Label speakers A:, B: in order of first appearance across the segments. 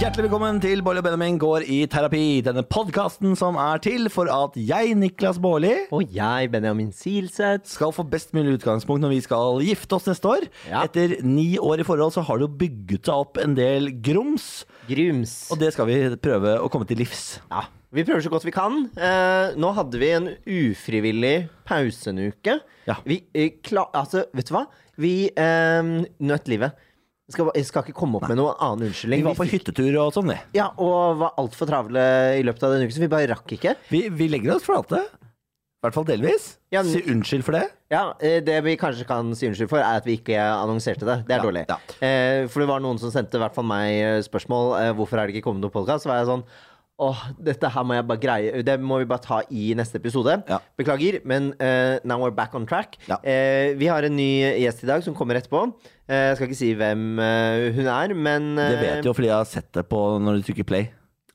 A: Hjertelig velkommen til Bårli og Benjamin går i terapi. Denne podkasten som er til for at jeg, Niklas Bårli,
B: Og jeg, Benjamin Silseth.
A: skal få best mulig utgangspunkt når vi skal gifte oss neste år.
B: Ja.
A: Etter ni år i forhold så har det jo bygget seg opp en del grums,
B: Grums.
A: og det skal vi prøve å komme til livs.
B: Ja, vi prøver så godt vi kan. Eh, nå hadde vi en ufrivillig pausenuke.
A: Ja.
B: Vi eh, kla- Altså, vet du hva? Vi eh, nøt livet. Skal, jeg skal ikke komme opp med noen annen unnskyldning.
A: Vi var på
B: fikk-
A: hyttetur og sånn, det.
B: Ja, og var altfor travle i løpet av den uken, så vi bare rakk ikke.
A: Vi, vi legger oss flate. I hvert fall delvis.
B: Ja, men-
A: Si unnskyld for det.
B: Ja, eh, Det vi kanskje kan si unnskyld for, er at vi ikke annonserte det. Det er
A: Ja,
B: dårlig.
A: ja.
B: Eh, for det var noen som sendte i hvert fall meg eh, spørsmål eh, hvorfor er det ikke kommet noen podkast. Så var jeg sånn Åh, dette her må jeg bare greie Det må vi bare ta i neste episode.
A: Ja.
B: Beklager, men eh, now we're back on track.
A: Ja.
B: Eh, vi har en ny gjest i dag som kommer etterpå. Eh, jeg skal ikke si hvem eh, hun er, men eh,
A: Det vet du jo fordi jeg har sett det på når du trykker play.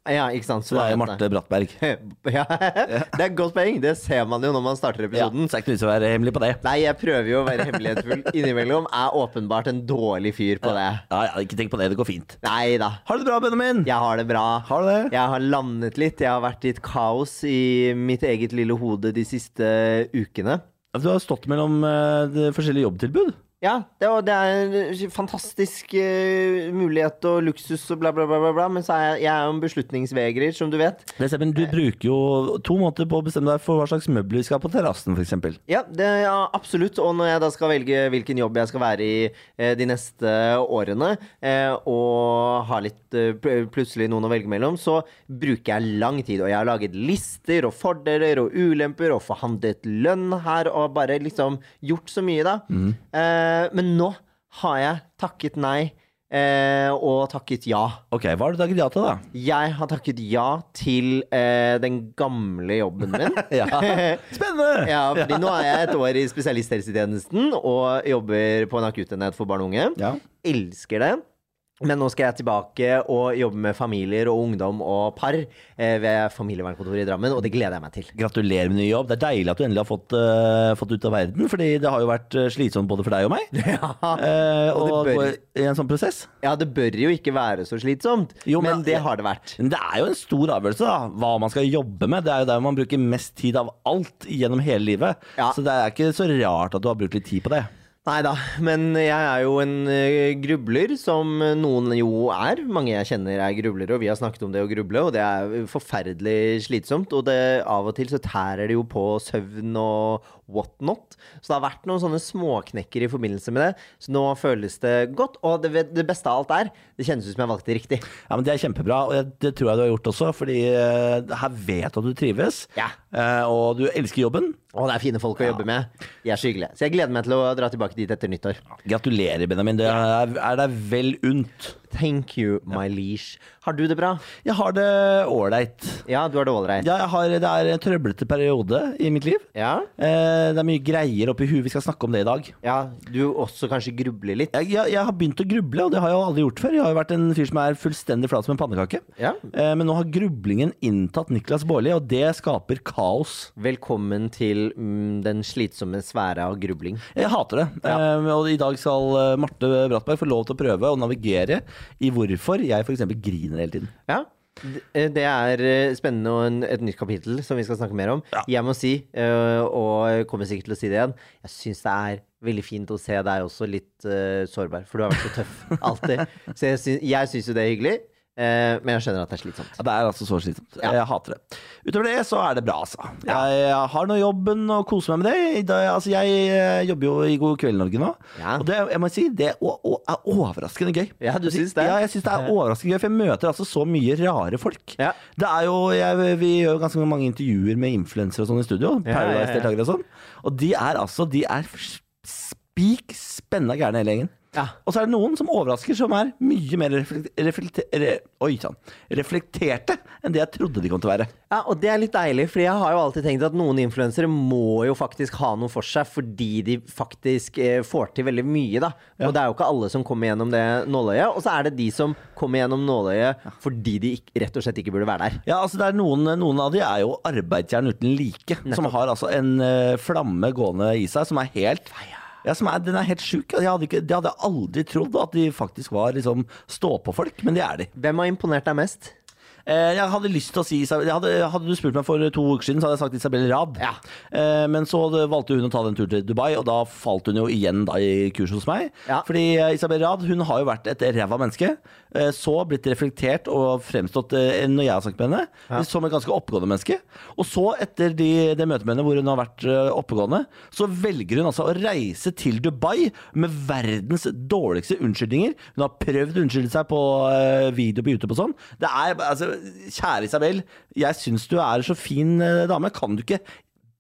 B: Ja, ikke sant.
A: Så det er jo
B: vet
A: Marte Brattberg.
B: jeg. ja, det er et godt poeng. Det ser man jo når man starter
A: Ja,
B: episoden.
A: så er ikke nødt til å være hemmelig på det.
B: Nei, jeg prøver jo å være hemmelighetsfull innimellom. Er åpenbart en dårlig fyr på det.
A: Ja, ja, ikke tenk på det. Det går fint.
B: Nei da.
A: Har du det bra, Benjamin?
B: Jeg har det bra.
A: Har du det?
B: Jeg har landet litt. Jeg har vært i et kaos i mitt eget lille hode de siste ukene.
A: Altså, Du har stått mellom eh, de forskjellige jobbtilbud.
B: Ja, det, og det er en fantastisk eh, mulighet og luksus og bla, bla, bla, bla, bla. Men så er jeg, jeg er jo en beslutningsvegrer, som du vet.
A: Det stemmer, Du bruker jo to måneder på å bestemme deg for hva slags møbler vi skal ha på terrassen, f.eks.
B: Ja, det, ja, absolutt. Og når jeg da skal velge hvilken jobb jeg skal være i eh, de neste årene, eh, og har litt eh, pl- plutselig noen å velge mellom, så bruker jeg lang tid. Og jeg har laget lister og fordeler og ulemper og forhandlet lønn her og bare liksom gjort så mye, da. Eh, men nå har jeg takket nei eh, og takket ja.
A: Ok, hva har du takket ja til, da?
B: Jeg har takket ja til eh, den gamle jobben min.
A: Ja. Spennende!
B: Ja, fordi nå er jeg et år i spesialisthelsetjenesten og jobber på en akuttenhet for barn og unge.
A: Ja.
B: Elsker det. Men nå skal jeg tilbake og jobbe med familier og ungdom og par eh, ved familievernkontoret i Drammen, og det gleder jeg meg til.
A: Gratulerer med ny jobb. Det er deilig at du endelig har fått, eh, fått ut av verden, fordi det har jo vært eh, slitsomt både for deg og meg. Eh,
B: og det
A: og
B: bør-
A: gå i en sånn prosess.
B: Ja, det bør jo ikke være så slitsomt,
A: Jo, men-
B: men det har det vært.
A: Men det er jo en stor avgjørelse, da. Hva man skal jobbe med. Det er jo der man bruker mest tid av alt gjennom hele livet.
B: Ja.
A: Så det er ikke så rart at du har brukt litt tid på det.
B: Nei da, men jeg er jo en eh, grubler, som noen jo er. Mange jeg kjenner er grublere, og vi har snakket om det å gruble, og det er forferdelig slitsomt. Og det, av og til så tærer det jo på søvn og whatnot. Så det har vært noen sånne småknekker i forbindelse med det. Så nå føles det godt, og det, det beste av alt er, det kjennes ut som jeg valgte riktig.
A: Ja, men Det er kjempebra, og jeg- det tror jeg du har gjort også. Fordi eh, her vet du at du trives,
B: Ja.
A: Eh, og du elsker jobben.
B: Og det er fine folk å jobbe med. De er så hyggelige. Så jeg gleder meg til å dra tilbake dit etter nyttår.
A: Gratulerer, Benjamin. Det er, er deg vel unt.
B: Thank you, my leash. Har du det bra?
A: Jeg har det ålreit.
B: Ja, du har det ålreit.
A: Ja, jeg har- det er en trøblete periode i mitt liv.
B: Ja?
A: Eh, Det er mye greier oppi huet. Vi skal snakke om det i dag.
B: Ja, du også kanskje grubler litt.
A: Jeg, jeg, jeg har begynt å gruble, og det har jeg jo aldri gjort før. Jeg har jo vært en fyr som er fullstendig flat som en pannekake.
B: Ja.
A: Eh, Men nå har grublingen inntatt Niklas Baarli, og det skaper kaos.
B: Velkommen til mm, den slitsomme sfære av grubling.
A: Jeg hater det. Eh, Og i dag skal eh, Marte Brattberg få lov til å prøve å navigere i hvorfor jeg f.eks. griner hele tiden.
B: Ja. D- eh, Det er eh, spennende og en, et nytt kapittel som vi skal snakke mer om. Jeg må si, eh, og kommer sikkert til å si det igjen, jeg syns det er veldig fint å se deg også litt eh, sårbar, for du har vært så tøff alltid. Så jeg syns, jeg syns jo det er hyggelig, eh, men jeg skjønner at det er slitsomt.
A: Ja, det er altså så slitsomt.
B: Ja.
A: Jeg hater det. Utover det så er det bra, altså. Jeg har nå jobben og koser meg med det. I dag- altså, jeg eh, jobber jo i God kveld Norge nå,
B: Ja.
A: og det jeg må si, det å- å- er overraskende gøy.
B: Ja, du syns det?
A: Ja, jeg syns det er overraskende gøy, for jeg møter altså så mye rare folk.
B: Ja.
A: Det er jo, jeg, Vi gjør jo ganske mange intervjuer med influensere og sånn i studio.
B: Ja, ja, ja.
A: Paradise-deltakere og sånn. Og de er altså De er s- spik spenna gærne hele gjengen.
B: Ja.
A: Og så er det noen som overrasker, som er mye mer reflekte, reflekte, re, oi, sann, reflekterte enn det jeg trodde de kom til å være.
B: Ja, og det er litt deilig, fordi jeg har jo alltid tenkt at noen influensere må jo faktisk ha noe for seg, fordi de faktisk eh, får til veldig mye, da. Og det er jo ikke alle som kommer gjennom det nåløyet, og så er det de som kommer gjennom nåløyet fordi de ikk- rett og slett ikke burde være der.
A: Ja, altså det er noen, noen av de er jo arbeidsjern uten like, som har altså en eh, flamme gående i seg som er helt Ja, som er, den er helt sjuk. Jeg hadde, ikke, det hadde jeg aldri trodd at de faktisk var liksom, stå-på-folk, men det er de.
B: Hvem har imponert deg mest?
A: Eh, jeg hadde lyst til å si Isabel- jeg hadde, hadde du spurt meg for to uker siden, så hadde jeg sagt Isabel Rad.
B: Ja.
A: Eh, men så hadde- valgte hun å ta den turen til Dubai, og da falt hun jo igjen da i kurs hos meg.
B: Ja.
A: Fordi eh, Isabel Rad hun har jo vært et ræva menneske. eh, Så blitt reflektert og fremstått eh, når jeg har snakket med henne, som et ganske oppegående menneske. Og så, etter de, det møtet med henne hvor hun har vært eh, oppegående, så velger hun altså å reise til Dubai med verdens dårligste unnskyldninger. Hun har prøvd å unnskylde seg på eh, video på YouTube og sånn. Det er, altså, Kjære Isabel, jeg syns du er så fin eh, dame. Kan du ikke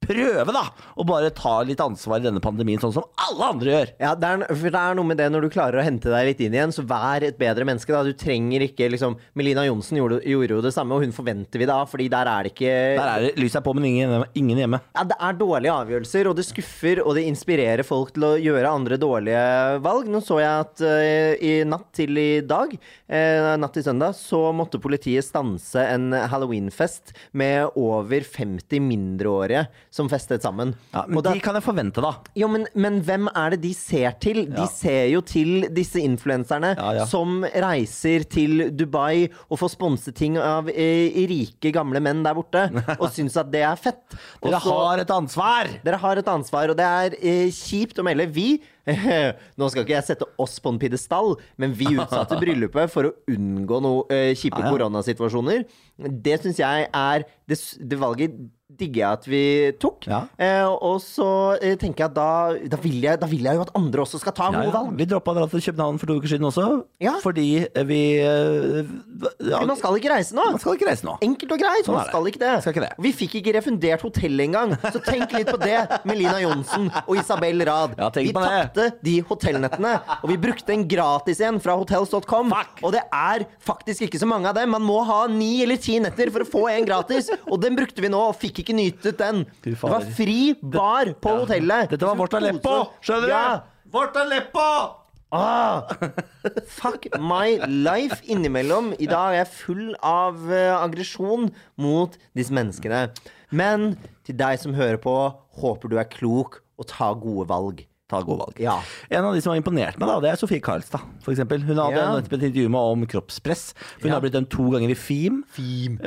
A: prøve, da, å bare ta litt ansvar i denne pandemien, sånn som alle andre gjør?
B: Ja, det er, for det er noe med det når du klarer å hente deg litt inn igjen, så vær et bedre menneske. da. Du trenger ikke liksom Melina Johnsen gjorde, gjorde jo det samme, og hun forventer vi da, fordi der er det ikke
A: Der er det lyset er på, men ingen, ingen hjemme.
B: ja, det er dårlige avgjørelser, og det skuffer, og det inspirerer folk til å gjøre andre dårlige valg. Nå så jeg at eh, i natt til i dag, eh, natt til søndag, så måtte politiet stanse en halloweenfest med over 50 mindreårige som festet sammen.
A: Ja, men
B: Og da-
A: De kan jeg forvente, da.
B: jo, men, men hvem er det de ser til? De
A: Ja.
B: ser jo til disse influenserne
A: Ja, ja.
B: som reiser til Dubai og får sponset ting av eh, rike, gamle menn der borte, og syns at det er fett. Og
A: Dere
B: så-
A: har et ansvar!
B: dere har et ansvar, og det er eh, kjipt å melde. Vi Nå skal ikke jeg sette oss på en pidestall, men vi utsatte bryllupet for å unngå noe eh, kjipe
A: Ah, Ja, ja.
B: koronasituasjoner. Det syns jeg er Det, s- det valget digger jeg at vi tok.
A: Ja.
B: Eh, og så eh, tenker jeg at da, da, vil jeg, da vil jeg jo at andre også skal ta
A: Ja,
B: gode
A: ja.
B: valg.
A: Vi droppa å dra til København for to uker siden også,
B: Ja.
A: fordi vi eh, ja,
B: Man skal ikke reise nå.
A: man skal ikke reise nå.
B: Enkelt og greit.
A: Sånn
B: man
A: er det.
B: skal ikke det.
A: Skal ikke det.
B: Vi fikk ikke refundert hotellet engang, så tenk litt på det, Melina Johnsen og Isabel Rad.
A: Ja, tenk
B: vi
A: på det.
B: tapte de hotellnettene, og vi brukte en gratis en fra hotels.com.
A: Fuck.
B: Og det er faktisk ikke så mange av dem. Man må ha ni eller ti netter for å få en gratis, og den brukte vi nå, og fikk ikke nytet den.
A: Fy
B: Det
A: fader.
B: var fri bar på hotellet.
A: Dette var Vorta Leppo, skjønner du?
B: Ja.
A: Vorta Leppo!
B: Ah, fuck my life innimellom. I dag er jeg full av eh, aggresjon mot disse menneskene. Men til deg som hører på, håper du er klok og tar gode valg.
A: Ta gode valg.
B: Ja.
A: En av de som har imponert meg, da, det er Sofie Karlstad. For eksempel. hun hadde
B: Ja.
A: nettopp et intervju med om kroppspress. For Hun
B: Ja.
A: har blitt dømt to ganger i FIM.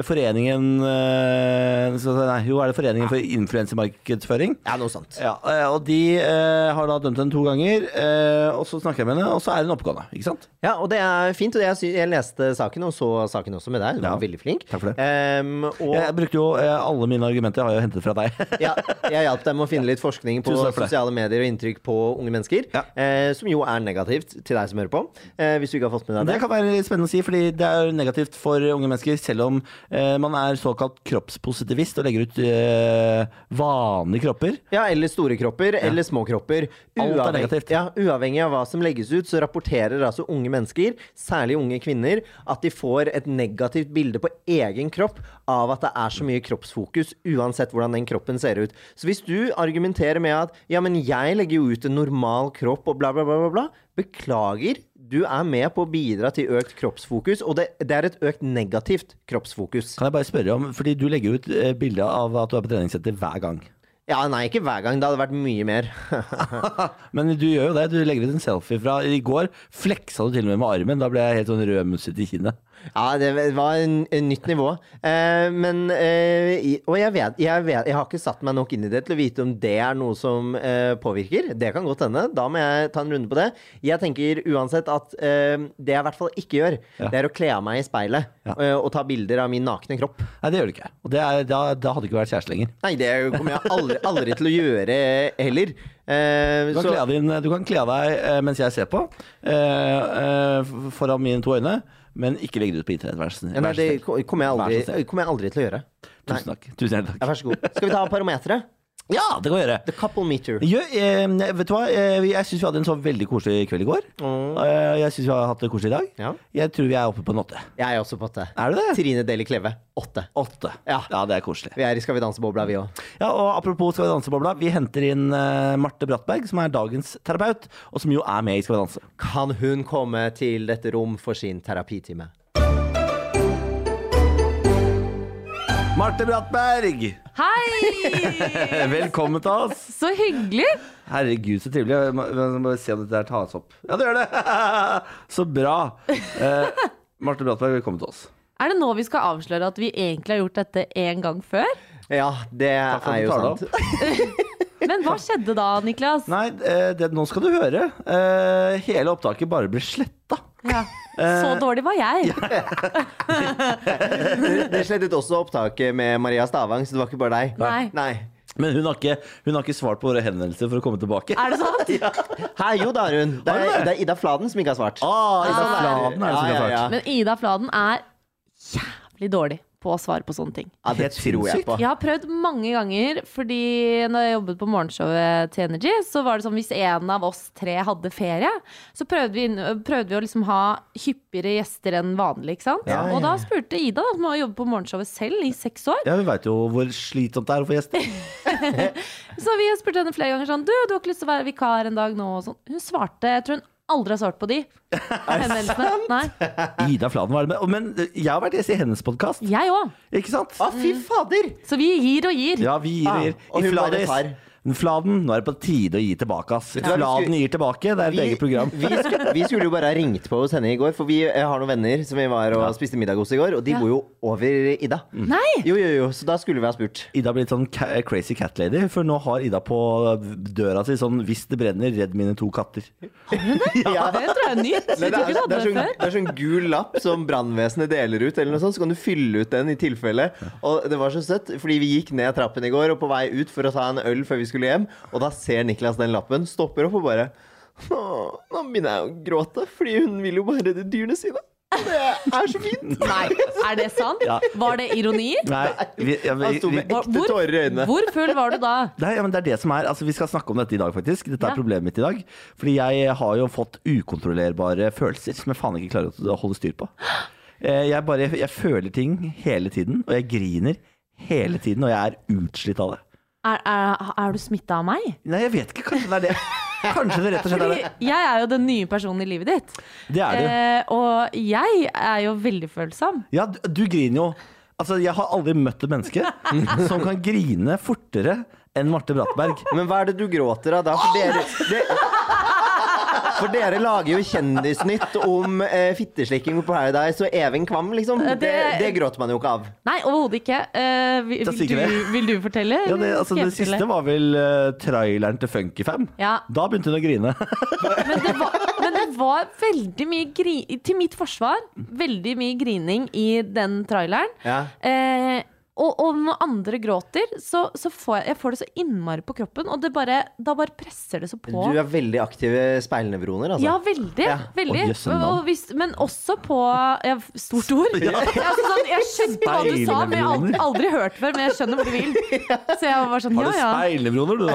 A: Foreningen eh, skal jeg si, Nei, jo, er det Foreningen for influensemarkedsføring?
B: Ja, noe sånt.
A: Ja, eh, og de eh, har da dømt henne to ganger, eh, og så snakker jeg med henne, og så er hun oppegående. Ikke sant?
B: Ja, og det er fint. Og jeg, sy jeg leste saken og så saken også med deg. Du var
A: Ja.
B: veldig flink.
A: Takk for det.
B: Ehm, og
A: Jeg brukte jo eh, alle mine argumenter, har jeg jo hentet fra deg.
B: ja, jeg hjalp dem å finne litt forskning på
A: Tusen takk for det.
B: sosiale medier og inntrykk på unge mennesker.
A: Ja.
B: Eh, som jo er negativt til deg som hører på. Eh, hvis du ikke har fått med deg det.
A: Det kan være litt spennende å si, fordi det er jo negativt for unge mennesker, selv om eh, man er såkalt kroppspositivist og legger ut eh, vanlige kropper.
B: Ja, eller store kropper, eller små kropper.
A: Alt er
B: Uavheng-
A: negativt.
B: Ja, uavhengig av hva som legges ut, så rapporterer altså unge mennesker, særlig unge kvinner, at de får et negativt bilde på egen kropp av at det er så mye kroppsfokus, uansett hvordan den kroppen ser ut. Så hvis du argumenterer med at ja, men jeg legger jo ut en normal kropp og bla, bla, bla, bla, bla beklager, du er med på å bidra til økt kroppsfokus, og det, det er et økt negativt kroppsfokus.
A: Kan jeg bare spørre om, fordi du legger ut eh, bilde av at du er på treningssenter hver gang.
B: Ja, nei, ikke hver gang. Det hadde vært mye mer.
A: Men du gjør jo det, du legger ut en selfie fra i går. Fleksa du til og med med armen, da ble jeg helt sånn rødmusset i kinnet.
B: Ja, det var en, en nytt nivå. Eh, men eh, i- Og jeg vet, jeg vet Jeg har ikke satt meg nok inn i det til å vite om det er noe som eh, påvirker. Det kan godt hende. Da må jeg ta en runde på det. Jeg tenker uansett at eh, det jeg i hvert fall ikke gjør,
A: Ja.
B: det er å kle av meg i speilet
A: Ja.
B: eh, og ta bilder av min nakne kropp.
A: Nei, det gjør du ikke. Og det er, da, da hadde du ikke vært kjæreste lenger.
B: Nei, det kommer jeg aldri, aldri til å gjøre heller. Eh,
A: Du kan,
B: så-
A: kle av din, du kan kle av deg eh, mens jeg ser på, eh, eh, f- foran mine to øyne, men ikke legge det ut på internett. Vær så snill.
B: Ja, nei,
A: Vær så
B: det
A: snill.
B: kommer
A: Vær
B: jeg,
A: så
B: aldri,
A: snill.
B: kommer jeg aldri til å gjøre. Nei.
A: Tusen takk. Tusen hjertelig
B: Ja,
A: takk.
B: vær så god. Skal vi ta parometeret?
A: Ja, det kan vi gjøre.
B: The couple meter.
A: Jo, eh, vet du hva? Eh, Jeg syns vi hadde en så veldig koselig kveld i går. Eh, Jeg syns vi har hatt det koselig i dag.
B: Ja.
A: Jeg tror vi er oppe på en åtte.
B: Jeg er også på det.
A: Er du det?
B: Trine Deli Kleve. Åtte.
A: Åtte.
B: Ja.
A: det er koselig.
B: Vi er i Skal vi danse-bobla, vi òg.
A: Ja, og Apropos Skal vi danse-bobla. Vi henter inn eh, Marte Brattberg, som er dagens terapeut, og som jo er med i Skal vi danse.
B: Kan hun komme til dette rom for sin terapitime?
A: Marte Brattberg!
C: Hei!
A: Eh, Velkommen til oss.
C: Så hyggelig!
A: Herregud, så trivelig. Jeg må, jeg må bare se om dette her tas opp. Ja, det gjør det! Så bra. Eh, Marte Brattberg, velkommen til oss.
C: Er det nå vi skal avsløre at vi egentlig har gjort dette én gang før?
B: Ja, det
A: Takk for
B: er
A: at du
B: jo
A: tar det
B: sant.
A: opp.
C: Men hva skjedde da, Niklas?
A: Nei, eh, det, nå skal du høre. Eh, hele opptaket bare ble sletta.
C: Ja. Så dårlig var jeg.
B: Det slettet også opptaket med Maria Stavang, så det var ikke bare deg.
C: Nei.
A: Men hun har, ikke, hun har ikke svart på våre henvendelser for å komme tilbake.
C: Er det sant?
B: Hei, jo da, Arun. Det
A: Har du
B: er,
A: det?
B: det er Ida Fladen som ikke har svart.
A: Ah, Ida Fladen er det som
B: Ja,
A: ikke
B: ja,
A: har
B: ja.
A: svart.
C: Men Ida Fladen er jævlig dårlig på å svare på sånne ting.
B: Ja, det
A: Helt
B: tror jeg
A: sinnssykt.
B: på.
C: Jeg har prøvd mange ganger, fordi når jeg jobbet på morgenshowet til Energy, så var det sånn hvis en av oss tre hadde ferie, så prøvde vi, inn- prøvde vi å liksom ha hyppigere gjester enn vanlig, ikke sant?
B: Ja, ja,
C: Og da spurte Ida, da, som har jobbet på morgenshowet selv i seks år,
A: Ja, Hun veit jo hvor slitsomt det er å få gjester.
C: så vi spurte henne flere ganger sånn Du, du har ikke lyst til å være vikar en dag nå? Og sånn. Hun svarte Jeg tror hun aldri har svart på de. henvendelsene. Nei.
A: Ida Fladen var det med. Men jeg har vært gjest i hennes podkast,
C: Jeg òg.
A: ikke sant?
B: Å, fy fader!
C: Så vi gir og gir.
A: Ja, vi
B: Ah,
A: gir.
B: og
A: I
B: hun var
A: Fladis.
B: far.
A: Men Fladen, nå er det på tide å gi tilbake, ass.
B: du hva, vi
A: Fladen
B: skulle-
A: gir tilbake, det er et eget program.
B: vi, skulle, vi skulle jo bare ha ringt på hos henne i går, for vi eh, har noen venner som vi var og spiste middag hos i går, og de
C: Ja.
B: bor jo over Ida.
A: Mm.
C: Nei!
B: Jo, jo, jo, så da skulle vi ha spurt.
A: Ida blir litt sånn ca crazy cat lady, for nå har Ida på døra si sånn 'Hvis det brenner, redd mine to katter'.
B: Ja.
C: Det tror jeg er nytt.
B: Nei,
C: Jeg
B: det,
C: tror
B: er, det,
C: ikke du
B: er
C: hadde
B: sånn,
C: det før.
B: det er sånn gul lapp som brannvesenet deler ut, eller noe sånt, så kan du fylle ut den i tilfelle. Og det var så søtt, fordi vi gikk ned trappen i går og på vei ut for å ta en øl før vi skulle hjem, og da ser Niklas den lappen, stopper opp og bare Åh, nå begynner jeg å gråte, fordi hun vil jo bare redde dyrene sine. Og Det er så fint!
C: Nei, er det sant?
A: Ja.
C: Var det ironi?
A: Nei, vi, ja,
B: Han
A: vi,
B: sto
A: vi,
B: med
C: Hvor-
B: ekte tårer i øynene.
C: Hvor full var du da?
A: Nei, ja, men det er det som er Altså, vi skal snakke om dette i dag, faktisk. Dette er
C: Ja.
A: problemet mitt i dag. Fordi jeg har jo fått ukontrollerbare følelser som jeg faen ikke klarer å holde styr på. Eh, Jeg bare Jeg føler ting hele tiden, og jeg griner hele tiden, og jeg er utslitt av det.
C: Er, er, er du smitta av meg?
A: Nei, jeg vet ikke. Kanskje det er det. Kanskje det rett og slett er
C: Fordi
A: det.
C: jeg er jo den nye personen i livet ditt.
A: Det er det.
C: Eh, og jeg er jo veldig følsom.
A: Ja, du, du griner jo. Altså, jeg har aldri møtt et menneske som kan grine fortere enn Marte Brattberg.
B: Men hva er det du gråter av da? For dere, det, for dere lager jo Kjendisnytt om eh, fitteslikking på Paradise og Even Kvam, liksom.
C: Eh, det-
B: Det, det gråter man jo ikke av.
C: Nei, overhodet ikke. Eh, vil,
A: Da
C: vil,
A: stikker
C: du, vil du fortelle?
A: Ja, det, altså, det siste var vel eh, traileren til Funkyfam.
C: Ja.
A: Da begynte hun å grine.
C: Men det var, men det var veldig mye gri, Til mitt forsvar, veldig mye grining i den traileren.
B: Ja.
C: Eh, og, og når andre gråter, så, så får jeg, jeg får det så innmari på kroppen. Og det bare, da bare presser det så på.
B: Du er veldig aktive speilnevroner, altså.
C: Ja, veldig.
B: Ja.
C: veldig.
A: Å, jøss, en
C: Og- og hvis, men også på ja, Stort ord. Altså, sånn, jeg skjønte hva du sa, men jeg har aldri, aldri hørt før. Men jeg skjønner hvor du vil. Så jeg var sånn,
A: Har
C: ja
A: du
C: ja.
A: speilnevroner, du,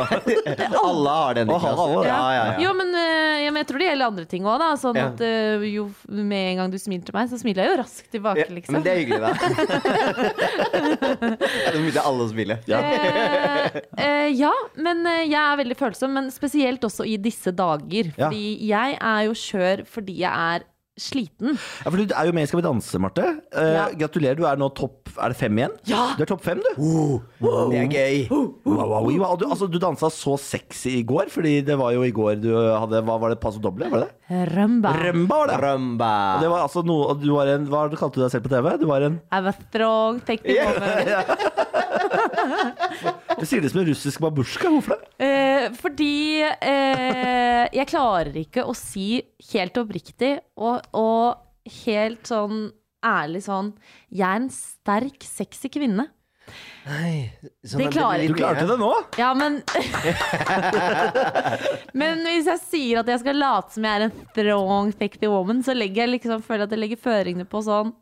A: da?
B: Alle har den.
A: Å, har altså.
B: Niklas.
A: alle det?
B: Ja, ja, ja.
C: Jo, men, eh, ja, men jeg tror det gjelder andre ting òg, da. Sånn
B: Ja.
C: at eh, jo f- med en gang du smiler til meg, så smiler jeg jo raskt tilbake,
B: Ja,
C: liksom.
B: Men det er hyggelig, da. Nå begynte alle å smile.
A: Ja.
C: Eh, eh, ja, men eh, jeg er veldig følsom, men spesielt også i disse dager.
A: Ja.
C: Fordi jeg er jo skjør fordi jeg er sliten.
A: Ja, for du er jo med i Skal vi danse, Marte. Eh,
C: Ja.
A: Gratulerer, du er nå topp Er det fem igjen?
C: Ja.
A: Du er topp fem, du.
B: Det er gøy.
A: Wow, wow, wow. Og Du, altså, du dansa så sexy i går, fordi det var jo i går du hadde Hva var det? Paso doble? Var det det?
C: Rømba.
A: Rømba, var det.
B: Rumba.
A: Og Det var altså noe og du var en, Hva kalte du deg selv på TV? Du var en
C: I have a strong technique woman.
A: Du sier det som en russisk babusjka. Hvorfor det?
C: Eh, fordi eh, jeg klarer ikke å si helt oppriktig og, og helt sånn ærlig sånn Jeg er en sterk, sexy kvinne.
B: Nei, sånn
C: Det
B: er
C: klarer
B: litt
A: Du klarte
B: mye.
A: det nå?
C: Ja, men Men hvis jeg sier at jeg skal late som jeg er en strong, sexy woman, så legger jeg liksom, føler jeg at jeg legger føringene på sånn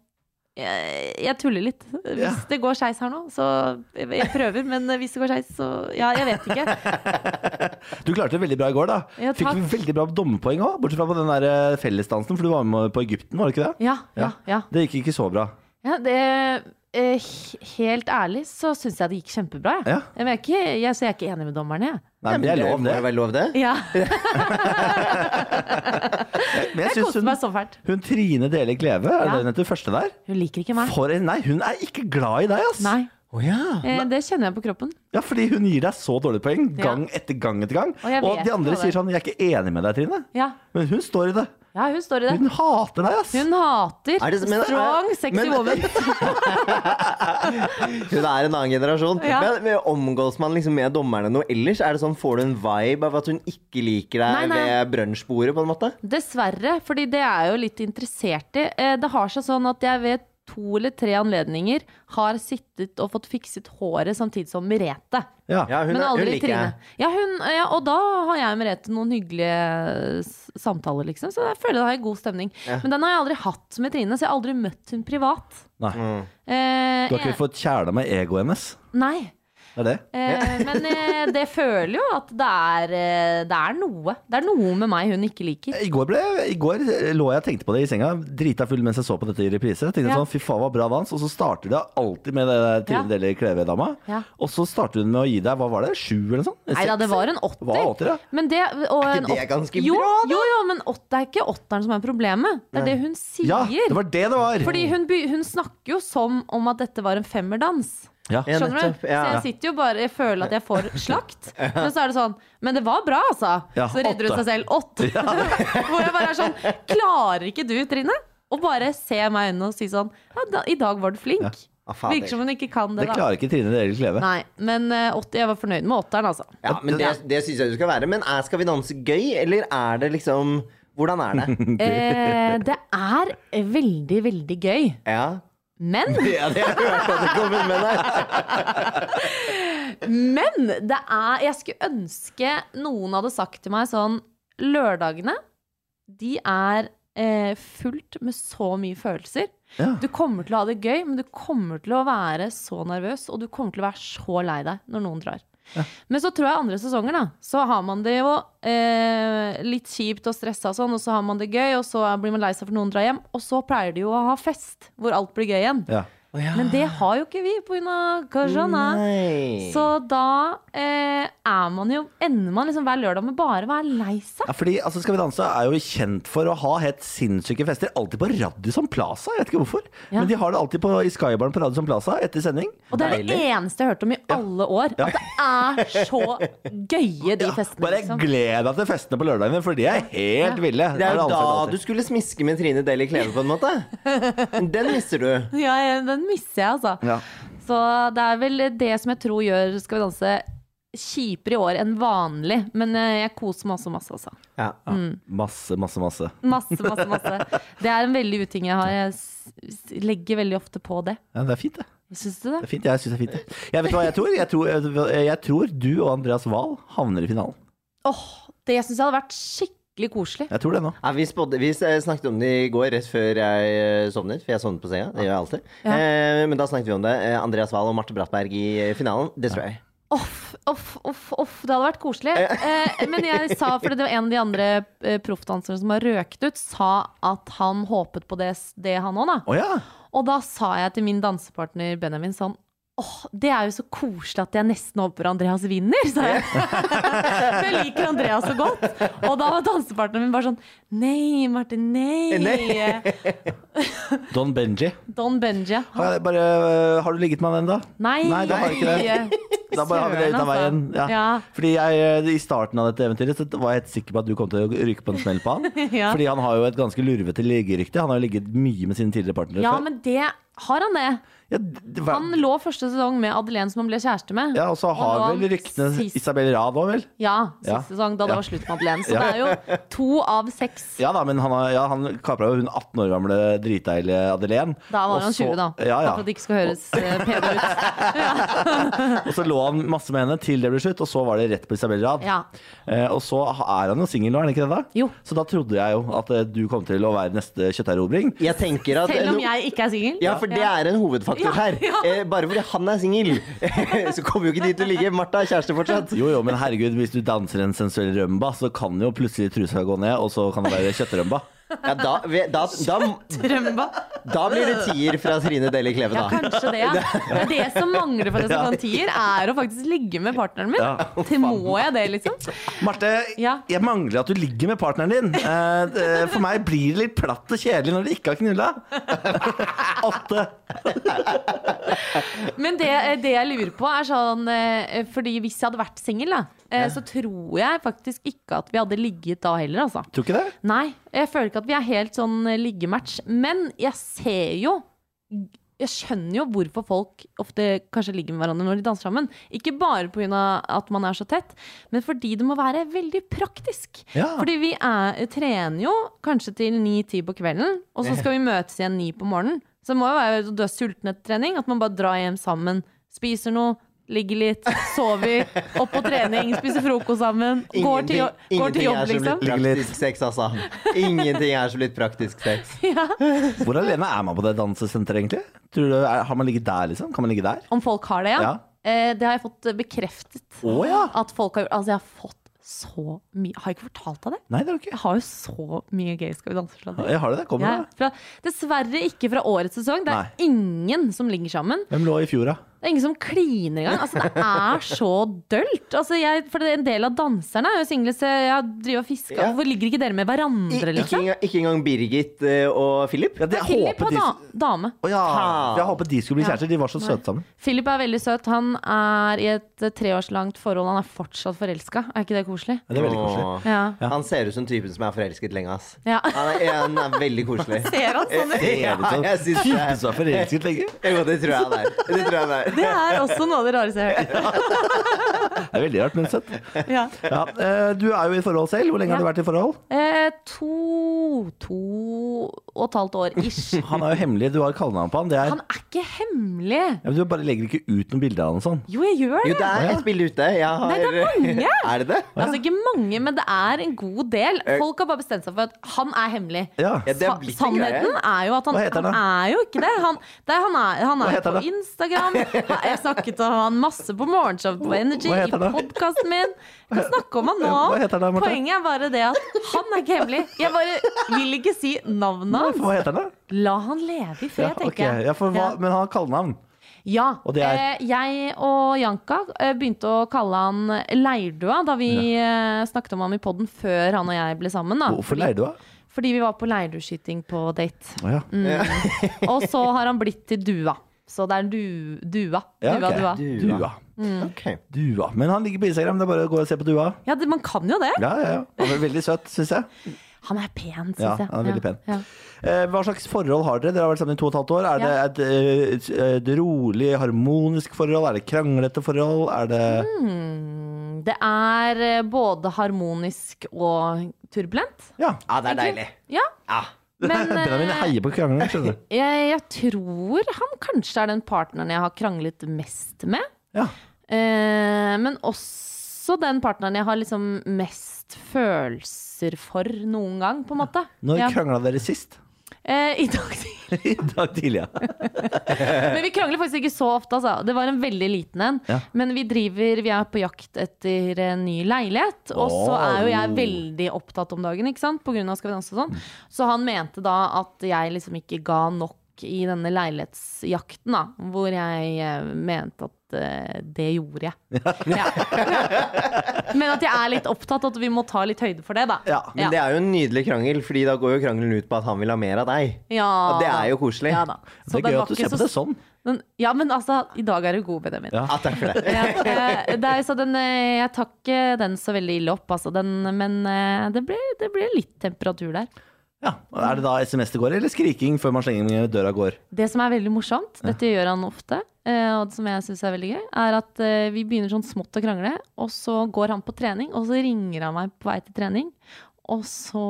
C: jeg, jeg tuller litt. Hvis
A: Ja.
C: det går skeis her nå, så jeg, jeg prøver. Men hvis det går skeis, så Ja, jeg vet ikke.
A: Du klarte det veldig bra i går, da.
C: Ja,
A: Fikk
C: takk.
A: veldig bra dommepoeng òg, bortsett fra på den der eh, fellesdansen, for du var med på Egypten, var det ikke det?
C: Ja, ja, ja.
A: Det gikk ikke så bra.
C: Ja, det, eh, he- helt ærlig så syns jeg det gikk kjempebra. Jeg.
A: Ja.
C: Men jeg er ikke, jeg, så jeg er ikke enig med dommerne, jeg.
A: Nei, men det er lov,
B: må
A: det.
B: jo være lov, det.
C: Ja,
A: Men jeg
C: jeg
A: syns
C: koste
A: hun,
C: meg så fælt.
A: hun Trine Dele Gleve, er
C: Ja.
A: det hun heter, første der?
C: Hun liker ikke meg.
A: For en Nei, hun er ikke glad i deg, ass!
C: Nei.
B: Å ja.
C: Eh, det kjenner jeg på kroppen.
A: Ja, fordi hun gir deg så dårlige poeng
C: Ja.
A: gang etter gang etter gang.
C: Og jeg
A: Og
C: vet
A: de andre
C: det.
A: sier sånn 'Jeg er ikke enig med deg, Trine',
C: Ja,
A: men hun står i det.
C: ja hun står i det.
A: Hun hater deg, ass.
C: Hun hater
B: Er det- men- er-
C: strong, sexy
B: men-
C: woman.
B: Hun er en annen generasjon.
C: Ja.
B: Men, men Omgås man liksom med dommerne noe ellers? Er det sånn, Får du en vibe av at hun ikke liker deg
C: Nei, nei.
B: ved brunsjbordet, på en måte?
C: Dessverre, fordi det er jeg jo litt interessert i. Eh, Det har seg sånn at jeg ved to eller tre anledninger har sittet og fått fikset håret samtidig som Merete.
A: Ja.
B: Ja, hun,
C: Men
B: er- hun
C: aldri
B: liker
C: Trine.
B: jeg.
C: Ja, hun, ja, og da har jeg og Merete noen hyggelige eh, s- samtaler, liksom. Så jeg føler jeg har god stemning.
B: Ja.
C: Men den har jeg aldri hatt med Trine, så jeg har aldri møtt hun privat.
A: Nei.
B: Mm.
C: Eh,
A: Du har ikke
C: jeg-
A: fått kjæla med egoet hennes.
C: Nei.
A: Det er det.
C: Eh, men eh, det føler jo at det er, eh, det er noe. Det er noe med meg hun ikke liker.
A: I går, ble, I går eh, lå jeg og tenkte på det i senga, drita full mens jeg så på dette i reprise. Jeg tenkte
C: Ja.
A: sånn, fy faen hva bra dans Og så starter det alltid med det der Trine
C: Ja.
A: Delle Kleve-dama.
C: Ja.
A: Og så starter hun med å gi deg hva var det, sju eller noe sånt?
C: Nei da, det var en
A: Det var
C: 80.
A: 80, ja.
C: Men det, og
B: Er
C: en
B: ikke det
C: åt-
B: ganske
C: jo,
B: bra, da?
C: Jo, jo, men åt- det er ikke åtteren som er problemet. Det er det hun sier.
A: ja, det var det det var.
C: Fordi hun, by- hun snakker jo som om at dette var en femmerdans.
A: ja.
B: Ja,
C: Skjønner du?
B: nettopp.
C: Så
B: Ja.
C: jeg sitter jo bare Jeg føler at jeg får slakt. Men så er det sånn Men det var bra, altså.
A: Ja,
C: Så redder hun
A: åtte.
C: seg selv åtte. Hvor jeg bare er sånn Klarer ikke du, Trine, å bare se meg i øynene og si sånn Ja, da, i dag var du flink.
B: Ah, fader.
C: Virker som hun ikke kan det,
A: Det
C: da.
A: klarer ikke Trine Delle Kleve.
C: Nei, men eh, åtte, jeg var fornøyd med åtteren, altså.
B: Ja, men det, det syns jeg du skal være. Men er Skal vi danse gøy, eller er det liksom Hvordan er det?
C: Eh, det er veldig, veldig gøy.
B: Ja.
C: Men
B: Det er det jeg hørte at det kom inn med der.
C: Men det er Jeg skulle ønske noen hadde sagt til meg sånn Lørdagene, de er eh, fullt med så mye følelser.
A: Ja.
C: Du kommer til å ha det gøy, men du kommer til å være så nervøs, og du kommer til å være så lei deg når noen drar. Men så tror jeg andre sesonger, da, så har man det jo eh, litt kjipt og stressa og sånn, og så har man det gøy, og så blir man lei seg for noen drar hjem, og så pleier de jo å ha fest hvor alt blir gøy igjen.
A: Ja.
C: Men det har jo ikke vi pga. Kajana.
B: Nei.
C: Sånn, Så da eh, er man jo Ender man liksom hver lørdag med bare å være lei seg.
A: Ja, fordi altså, Skal vi danse er jo kjent for å ha helt sinnssyke fester. Alltid på Radisson Plaza, jeg vet ikke hvorfor.
C: Ja.
A: Men de har det alltid på, i Skybaren på Radisson Plaza etter sending.
C: Og det er det
B: Deilig.
C: eneste jeg har hørt om i alle år. At det er så gøye, de festene.
A: Bare
C: Liksom.
A: gled deg til festene på lørdagene, for de er helt ville.
B: Det er jo
A: Har det
B: da
A: alltid-
B: du skulle smiske med Trine Deli Kleve, på en måte. Den mister du.
C: Ja, ja, den mister jeg, altså.
A: Ja.
C: Så det er vel det som jeg tror gjør Skal vi danse kjipere i år enn vanlig. Men eh, jeg koser meg også masse, altså.
B: Ja.
A: Masse, masse, masse.
C: Masse, masse, masse. Det er en veldig uting jeg har. Jeg s- s- legger veldig ofte på det.
A: Ja, det er fint, det.
C: Syns du det?
A: det er fint. Jeg syns det er fint. det. Jeg vet hva jeg tror. Jeg tror, jeg tror du og Andreas Wahl havner i finalen.
C: Åh, det syns jeg hadde vært skikkelig koselig.
A: Jeg tror det nå.
B: Ja, vi, spådde, vi eh, snakket om det i går rett før jeg eh, sovnet, for jeg sovnet på senga. Det gjør jeg alltid.
C: Ja.
B: Eh, men da snakket vi om det. Eh, Andreas Wahl og Marte Brattberg i eh, finalen. Det tror jeg.
C: Off, off, off, off. Det hadde vært koselig. Eh, men jeg sa, fordi det var en av de andre eh, proffdanserne som har røket ut, sa at han håpet på det, det han òg, da.
A: Å ja.
C: Og da sa jeg til min dansepartner Benjamin sånn Åh, det er jo så koselig at jeg nesten håper Andreas vinner, sa jeg. For jeg liker Andreas så godt. Og da var dansepartneren min bare sånn Nei, Martin, nei.
B: Nei.
A: Don Benji.
C: Don Benji. Han,
A: Har, jeg bare, har du ligget med han ennå?
C: nei.
A: Nei, da har jeg ikke Da bare har vi det ut av veien.
C: Søren,
A: Ja.
C: altså. Ja.
A: Fordi jeg, eh, I starten av dette eventyret Så var jeg helt sikker på at du kom til å ryke på en smell på han.
C: Ja.
A: Fordi han har jo et ganske lurvete liggerykte. Han har jo ligget mye med sine tidligere partnere.
C: Ja,
A: før.
C: men det har han det.
A: ja, det var-
C: Han lå første sesong med Adelén, som han ble kjæreste med.
A: ja, og så har
C: og nå
A: vel ryktene
C: sist-
A: Isabel Rad òg, vel?
C: Ja, siste
A: Ja.
C: sesong, da det
A: Ja.
C: var slutt med Adelén. Så
A: Ja.
C: det er jo to av seks.
A: Ja da, men han, har- ja, han kapra jo hun 18 år gamle dritdeilige Adelén.
C: Da
A: Og
C: var han
A: så-
C: 20, da.
A: Ja,
C: Bare For at
A: ja.
C: det ikke skal høres eh, pedo ut.
A: Og så lå han masse med henne til det ble slutt, og så var det rett på Isabel Rad.
C: Ja.
A: Eh, og så er han jo singel nå, er han ikke det? da?
C: Jo.
A: Så da trodde jeg jo at eh, du kom til å være neste kjøtterobring.
B: Jeg tenker at
C: Selv om jeg ikke er singel.
B: ja, for det er en hovedfaktor
C: Ja,
B: her.
C: ja.
B: Eh, bare fordi han er singel, så kommer jo ikke de til å ligge. Martha er kjæreste fortsatt.
A: Jo, jo, men herregud, hvis du danser en sensuell rømba, så kan jo plutselig trusa gå ned, og så kan det være kjøttrømba.
B: Ja, da, vi- da, da,
C: Trømba.
B: da blir det tier fra Trine Deli Kleve,
C: Ja,
B: da.
C: kanskje det. Ja. Det er det som mangler for at jeg skal få en tier, er å faktisk ligge med partneren min. Til må jeg det, liksom?
A: Marte,
C: Ja.
A: jeg mangler at du ligger med partneren din. Eh, det- For meg blir det litt platt og kjedelig når dere ikke har knulla. Åtte.
C: Men det, det jeg lurer på er sånn eh, Fordi hvis jeg hadde vært singel, da, eh, så tror jeg faktisk ikke at vi hadde ligget da heller, altså.
A: Tror ikke det?
C: Nei, jeg føler ikke at vi er helt sånn eh, liggematch. Men jeg ser jo Jeg skjønner jo hvorfor folk ofte kanskje ligger med hverandre når de danser sammen. Ikke bare pga. at man er så tett, men fordi det må være veldig praktisk.
A: Ja.
C: Fordi vi er, trener jo kanskje til 9-10 på kvelden, og så skal vi møtes igjen 9 på morgenen. Så det må jo være du er sulten etter trening, at man bare drar hjem sammen, spiser noe. Ligger litt, sover, opp på trening, spiser frokost sammen. Går til, jo- går til
B: ingenting er
C: jobb,
B: som
C: liksom.
B: litt praktisk sex, altså. Ingenting er som litt praktisk sex.
C: Ja.
A: Hvor alene er man på det dansesenteret, egentlig? Tror du, er, har man ligget der, liksom? Kan man ligge der?
C: Om folk har det, ja. Eh, det har jeg fått bekreftet.
A: Å, ja.
C: At folk har gjort Altså, jeg har fått så mye Har jeg ikke fortalt deg det?
A: Nei, det har du ikke.
C: Jeg har jo så mye gøy Skal vi danse-slader.
A: Jeg har det, det kommer
C: Jeg er
A: det.
C: fra, dessverre ikke fra årets sesong. Det er
A: Nei.
C: ingen som ligger sammen.
A: Hvem lå i fjor, da?
C: Det er ingen som kliner engang. Altså, det er så dølt. Altså, jeg, for det er en del av danserne er jo single, så jeg driver og fisker.
B: Ja.
C: Hvorfor ligger ikke dere med
B: I,
C: hverandre,
B: ikke,
C: liksom?
B: engang, ikke engang Birgit eh, og Philip.
A: Ja, det, jeg
C: Philip
A: håpet
C: og
A: de,
C: da, dame.
A: Å ja.
B: Faen.
A: jeg håpet de skulle bli
C: Ja.
A: kjærester. De var så
C: Nei.
A: søte sammen.
C: Philip er veldig søt. Han er i et eh, treårslangt forhold. Han er fortsatt forelska. Er ikke det koselig?
A: Ja, det er veldig koselig.
B: Åh.
C: Ja.
B: Han ser ut som typen som er forelsket lenge, ass.
C: Ja.
B: Han er, han er veldig koselig.
C: Ser han sånn ut?
B: Ja, jeg syns det.
A: Typen som er forelsket lenge.
B: Jo, det tror jeg han er. Det tror jeg han er.
C: Det er også noe av det rareste jeg har hørt.
A: Det er veldig rart, men søtt.
C: Ja.
A: Ja. eh, Du er jo i forhold selv. Hvor lenge har du
C: Ja.
A: vært i forhold?
C: Eh, to To og et halvt år ish.
A: Han er jo hemmelig. Du har kallenavn på han. Det er,
C: Han er ikke hemmelig!
A: Ja, men du bare legger ikke ut noen bilder av han og sånn.
C: Jo, jeg gjør det.
B: Jo, det er et bilde ute. Jeg har...
C: Nei, det er mange.
B: Er det Eh. det?
C: Altså Ikke mange, men det er en god del. Folk har bare bestemt seg for at han er hemmelig.
A: Ja.
B: Ja, det
C: Sa
B: har blitt en greie.
C: sannheten er jo at han,
A: Hva heter
C: han
A: han
C: er jo ikke det. Han, det er, han er, han
A: Hva
C: er
A: heter
C: på
A: han da?
C: Instagram. Ha- Jeg snakket om han masse på morgenshow på Energy,
A: Hva
C: i
A: heter han da?
C: podkasten min. Jeg kan snakke om han nå.
A: Hva heter han da, Marte?
C: Poenget er bare det at han er ikke hemmelig. Jeg bare vil ikke si navnet hans.
A: Hva heter han, da?
C: La han leve i fred,
A: Ja, ok.
C: tenker jeg.
A: ja, for hva,
C: Ja.
A: men han har kallenavn.
C: Ja.
A: Og det er?
C: Eh, jeg og Janka eh, begynte å kalle han Leirdua da vi eh, snakket om ham i poden før han og jeg ble sammen. Da.
A: Hvorfor leide du av?
C: Ah, Fordi, fordi vi var på leirdueskyting på date.
A: Å ja.
C: Og så har han blitt til Dua. Så det er du, Dua.
A: Ja,
C: dua,
A: ok.
C: dua.
B: Dua.
A: Dua.
B: Ok.
A: Dua. Men han ligger på Instagram. Det er bare å gå og se på Dua.
C: Ja, det, man kan jo det.
A: Ja, ja, ja. Han er veldig søt, syns jeg.
C: Han er pen, syns
A: Ja,
C: jeg.
A: han er veldig pen.
C: Ja.
A: Eh, hva slags forhold har dere? Dere har vært sammen i to og et halvt år. Er
C: Ja.
A: det et, eh, et rolig, harmonisk forhold? Er det kranglete forhold? Er det
C: Hmm, Det er eh, både harmonisk og turbulent.
A: Ja.
B: Ja, det er deilig.
C: Ja,
B: Ja.
C: men
A: Benjamin
C: eh,
A: heier på krangling, skjønner du.
C: jeg, jeg tror han kanskje er den partneren jeg har kranglet mest med.
A: Ja.
C: Eh, men også den partneren jeg har liksom mest følelser for noen gang, på en måte.
A: Når
C: Ja.
A: krangla dere sist?
C: Eh, I dag tidlig.
A: I dag tidlig, ja.
C: Men vi krangler faktisk ikke så ofte, altså. Det var en veldig liten en.
A: Ja.
C: Men vi driver, vi er på jakt etter en ny leilighet. Og så
A: Åh.
C: er jo jeg veldig opptatt om dagen, ikke sant? På grunn av Skal vi danse og sånn. Så han mente da at jeg liksom ikke ga nok i denne leilighetsjakten, da. Hvor jeg eh, mente at eh, det gjorde jeg. Ja. Men at jeg er litt opptatt, at vi må ta litt høyde for det, da.
A: Ja,
B: Men det er jo en nydelig krangel, Fordi da går jo krangelen ut på at han vil ha mer av deg.
C: Ja
B: Og det
C: da.
B: er jo koselig.
C: Ah. Ja da.
A: Det
C: Så
A: er
C: den
A: gøy
C: var
A: at du
C: ikke
A: ser på
C: så-
A: det sånn.
C: den- Ja, men altså, i dag er du god, Benjamin.
A: Ja.
B: Ja, takk for det.
C: ja, eh, det er, så den, eh, jeg tar ikke den så veldig ille opp, altså. Den, men eh, det ble, det ble litt temperatur der.
A: Ja. og Er det da SMS det går, eller skriking før man slenger døra går?
C: Det som er veldig morsomt, dette gjør han ofte, eh, og som jeg syns er veldig gøy, er at eh, vi begynner sånn smått å krangle, og så går han på trening, og så ringer han meg på vei til trening, og så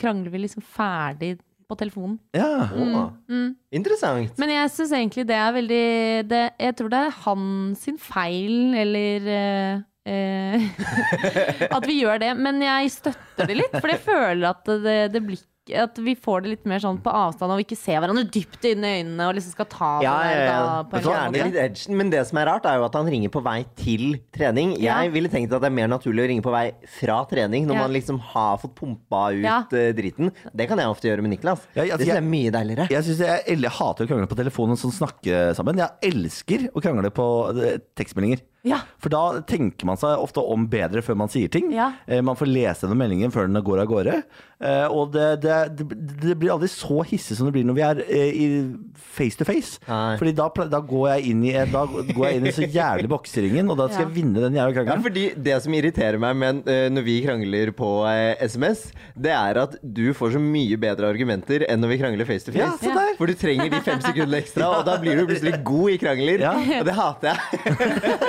C: krangler vi liksom ferdig på telefonen.
A: Ja.
B: Åh. Mm. Interessant.
C: Men jeg syns egentlig det er veldig det, Jeg tror det er han sin feil, eller eh, eh, At vi gjør det. Men jeg støtter det litt, for jeg føler at det, det blir ikke ikke, at vi får det litt mer sånn på avstand, og vi ikke ser hverandre dypt inn i øynene og liksom skal ta det
B: Ja, ja,
C: der da,
B: ja.
C: på en eller annen
B: Gjerne
C: måte.
B: litt edgen, men det som er rart, er jo at han ringer på vei til trening. Jeg
C: Ja.
B: ville tenkt at det er mer naturlig å ringe på vei fra trening, når
C: Ja.
B: man liksom har fått pumpa ut
C: Ja.
B: eh, driten. Det kan jeg ofte gjøre med Niklas.
A: Ja, jeg-
B: det synes jeg
A: jeg-
B: er mye deiligere.
A: Jeg, synes jeg, el- jeg hater å krangle på telefonen og sånn snakke sammen. Jeg elsker å krangle på eh, tekstmeldinger.
C: Ja.
A: For da tenker man seg ofte om bedre før man sier ting.
C: Ja.
A: Eh, Man får lese gjennom meldingen før den går av gårde. Eh, Og det, det, det det blir aldri så hissig som det blir når vi er eh, i face to face.
B: Nei.
A: Fordi da, ple- da, går jeg inn i, da går jeg inn i så jævlig bokseringen, og da skal
C: Ja.
A: jeg vinne den jævla
B: Ja,
A: krangelen.
B: fordi Det som irriterer meg men, eh, når vi krangler på eh, SMS, det er at du får så mye bedre argumenter enn når vi krangler face to face.
A: Ja, se der.
B: For du trenger de fem sekundene ekstra, og da blir du plutselig god i krangler.
A: Ja.
B: Og det hater jeg.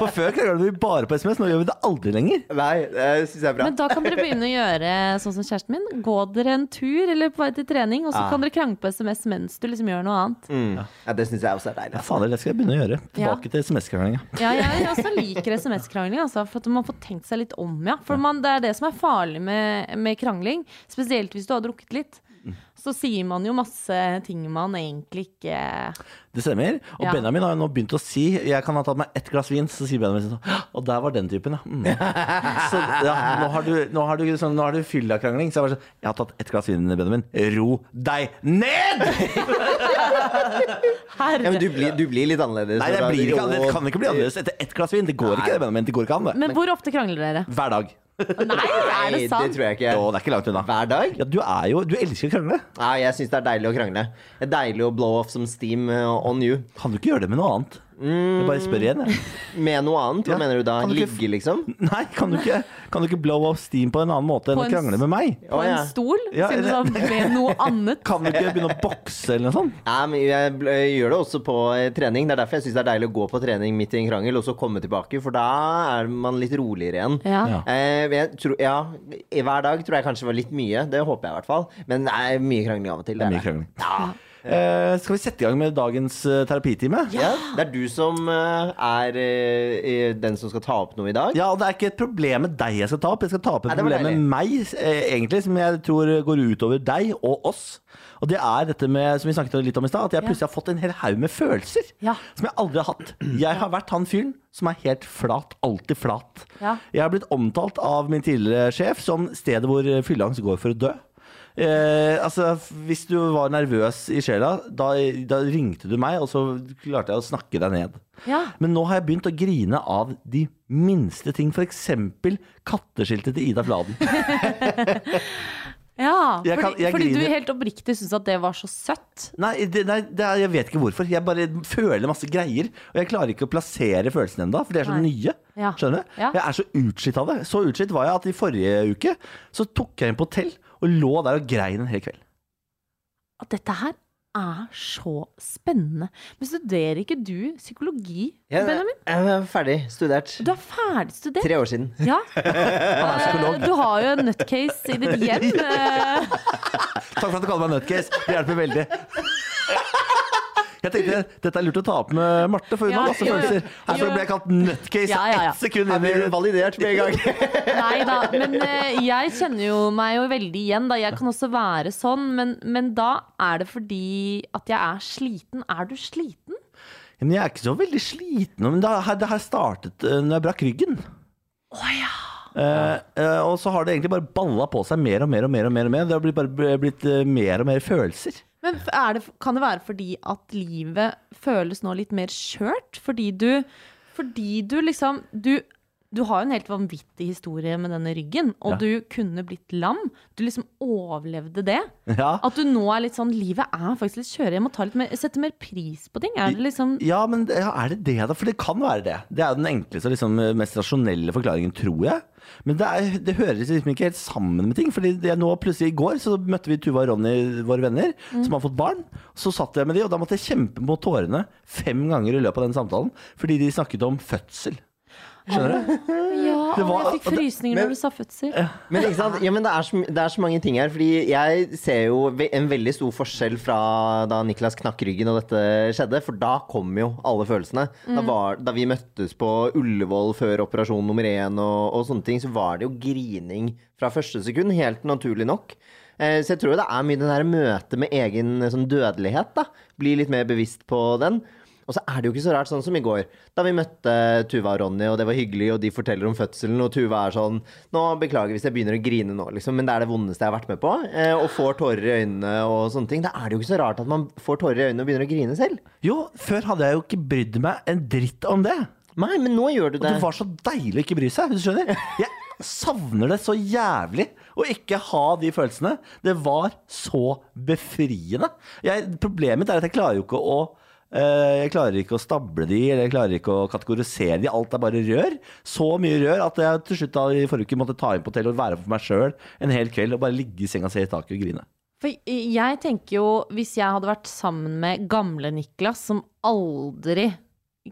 A: For før kranglet vi bare på SMS, nå gjør vi det aldri lenger.
B: Nei, det syns jeg er bra.
C: Men da kan dere begynne å gjøre sånn som kjæresten min. Gå dere en tur eller på vei til trening, og så
B: Ah.
C: kan dere krangle på SMS mens du liksom gjør noe annet.
B: Mm. Ja, det syns jeg også er
A: Ja,
B: deilig.
A: fader, det skal jeg begynne å gjøre.
C: Ja.
A: Tilbake til SMS-kranglinga.
C: Ja, jeg også liker SMS-krangling, altså, for at man får tenkt seg litt om, ja. For man, det er det som er farlig med, med krangling, spesielt hvis du har drukket litt. Så sier man jo masse ting man egentlig ikke
A: Det stemmer. Og
C: Ja.
A: Benjamin har jo nå begynt å si Jeg kan ha tatt meg ett glass vin, så sier Benjamin sånn «Hå, Og der var den typen, ja. Mm. Så ja, nå har du, nå har du, sånn, nå har du fyllakrangling. Så jeg bare sånn Jeg har tatt ett glass vin, Benjamin. Ro deg ned!
C: Herre.
B: Ja, men
C: men,
B: du blir, du blir litt annerledes.
A: Nei, det, blir ikke, annerledes. det kan ikke bli annerledes etter ett glass vin. Det går ikke, det, Benjamin. Det går ikke an, det.
C: hvor ofte krangler dere?
A: Hver dag.
C: Nei, er det
B: Nei, det
C: sant?
B: tror jeg ikke.
A: Og det er ikke langt unna.
B: Hver dag?
A: Ja, du er jo Du elsker å krangle.
B: Nei, jeg syns det er deilig å krangle. Det er deilig å blow off som steam eh, on you.
A: Kan du ikke gjøre det med noe annet? Jeg bare spør igjen,
C: Mm.
A: jeg.
B: Med noe annet? Hva
A: Ja.
B: mener du da?
A: Kan du ikke f-
B: Ligge, liksom?
A: Nei, kan du ikke, kan du ikke blow off steam på en annen måte enn
C: På
A: å
C: en s-
A: krangle med meg?
C: På
B: Å, ja.
C: en stol?
A: Ja,
C: Siden du sa med noe annet?
A: Kan du ikke begynne å bokse eller noe sånt?
B: Nei, men jeg bl- jeg gjør det også på eh, trening. Det er derfor jeg syns det er deilig å gå på trening midt i en krangel, og så komme tilbake, for da er man litt roligere igjen.
C: Ja.
A: Ja.
B: Eh, jeg tror, ja, i hver dag tror jeg kanskje var litt mye. Det håper jeg i hvert fall. Men det er mye krangling av og til.
A: Det er mye
B: det er det.
A: krangling. Eh, skal vi sette i gang med dagens eh, terapitime? Ja.
B: Ja, det er du som eh, er eh, den som skal ta opp noe i dag.
A: og det er ikke et problem med deg jeg skal ta opp. Jeg skal ta opp et
B: Nei, det var
A: problem med meg, eh, egentlig, som jeg tror går utover deg og oss. Og det er dette med, som vi snakket litt om i stad, at jeg
C: Ja.
A: plutselig har fått en hel haug med følelser.
C: Ja.
A: Som jeg aldri har hatt. Jeg har vært han fyren som er helt flat. Alltid flat.
C: Ja.
A: Jeg har blitt omtalt av min tidligere sjef som stedet hvor fylleangst går for å dø. Eh, altså, hvis du var nervøs i sjela, da, da ringte du meg, og så klarte jeg å snakke deg ned.
C: Ja.
A: Men nå har jeg begynt å grine av de minste ting, f.eks. katteskiltet til Ida Fladen.
C: Ja,
A: Jeg kan-
C: fordi,
A: jeg
C: fordi du
A: griner.
C: helt oppriktig syns at det var så søtt.
A: Nei, det, nei det er, jeg vet ikke hvorfor. Jeg bare føler masse greier. Og jeg klarer ikke å plassere følelsene ennå, for de er så
C: Nei.
A: nye.
C: Ja.
A: Skjønner du?
C: Ja.
A: Jeg er så utslitt av det. Så utslitt var jeg at i forrige uke så tok jeg inn på hotell og lå der og grein en hel kveld.
C: At dette her er så spennende. Men studerer ikke du psykologi,
B: Ja,
C: Benjamin?
B: jeg er ferdig studert.
C: Du er ferdigstudert.
B: Tre år siden.
C: Ja. Eh, Du har jo en nutcase i ditt hjem. eh,
A: Takk for at du kaller meg nutcase. Det hjelper veldig. Jeg tenkte dette er lurt å ta opp med Marte, for hun
C: Ja,
A: har masse
C: jo, jo.
A: følelser. Her
C: Jo.
A: ble jeg kalt nutcase
C: Ja, ja, ja.
A: ett sekund
B: Jeg
A: inn i
B: blir validert med en gang.
C: Nei da, men eh, jeg kjenner jo meg jo veldig igjen. Da. Jeg kan også være sånn, men, men da er det fordi at jeg er sliten. Er du sliten?
A: Men jeg er ikke så veldig sliten. Men det her, det her startet eh, når jeg brakk ryggen. Eh, eh, og så har det egentlig bare balla på seg mer og mer og mer. og mer, og mer. Det har blitt, bare blitt eh, mer og mer følelser.
C: Men f- er det, kan det være fordi at livet føles nå litt mer skjørt? Fordi du, fordi du liksom du, du har jo en helt vanvittig historie med denne ryggen, og
A: Ja.
C: du kunne blitt lam. Du liksom overlevde det.
A: Ja.
C: At du nå er litt sånn Livet er faktisk litt skjørere. Jeg må ta litt mer, sette mer pris på ting. Er det liksom
A: Ja, men det- ja, er det det, da? For det kan være det. Det er jo den enkleste og liksom, mest rasjonelle forklaringen, tror jeg. Men det, er, det høres liksom ikke helt sammen med ting. Fordi det er nå plutselig I går så møtte vi Tuva og Ronny, våre venner, som har fått barn. Så satt jeg med de, og da måtte jeg kjempe mot tårene fem ganger i løpet av den samtalen. Fordi de snakket om fødsel. Skjønner du?
C: Ja,
A: Det var-
C: å, jeg fikk frysninger
B: men-
C: når du sa fødsel.
B: Men, ikke sant? Ja, men det, er så, det er så mange ting her, fordi jeg ser jo ve- en veldig stor forskjell fra da Niklas knakk ryggen og dette skjedde, for da kom jo alle følelsene. Da, var, da vi møttes på Ullevål før operasjon nummer én og, og sånne ting, så var det jo grining fra første sekund, helt naturlig nok. Eh, Eh, Så jeg tror jo det er mye den her møtet med egen eh, sånn dødelighet, da. Bli litt mer bevisst på den. Og så er det jo ikke så rart, sånn som i går, da vi møtte Tuva og Ronny, og det var hyggelig, og de forteller om fødselen, og Tuva er sånn Nå beklager hvis jeg begynner å grine nå, liksom, men det er det vondeste jeg har vært med på. eh, Og får tårer i øynene og sånne ting. Da er det jo ikke så rart at man får tårer i øynene og begynner å grine selv.
A: Jo, før hadde jeg jo ikke brydd meg en dritt om det.
B: Nei, men nå gjør du
A: Det
B: det.
A: var så deilig å ikke bry seg, hvis du skjønner. Jeg savner det så jævlig å ikke ha de følelsene. Det var så befriende. Jeg, problemet mitt er at jeg klarer jo ikke å eh, jeg klarer ikke å stable de, eller jeg klarer ikke å kategorisere de. Alt er bare rør. Så mye rør at jeg til slutt da i forrige uke måtte ta inn på hotell og være for meg sjøl en hel kveld og bare ligge i senga og se i taket og grine.
C: For jeg tenker jo, hvis jeg hadde vært sammen med gamle Niklas, som aldri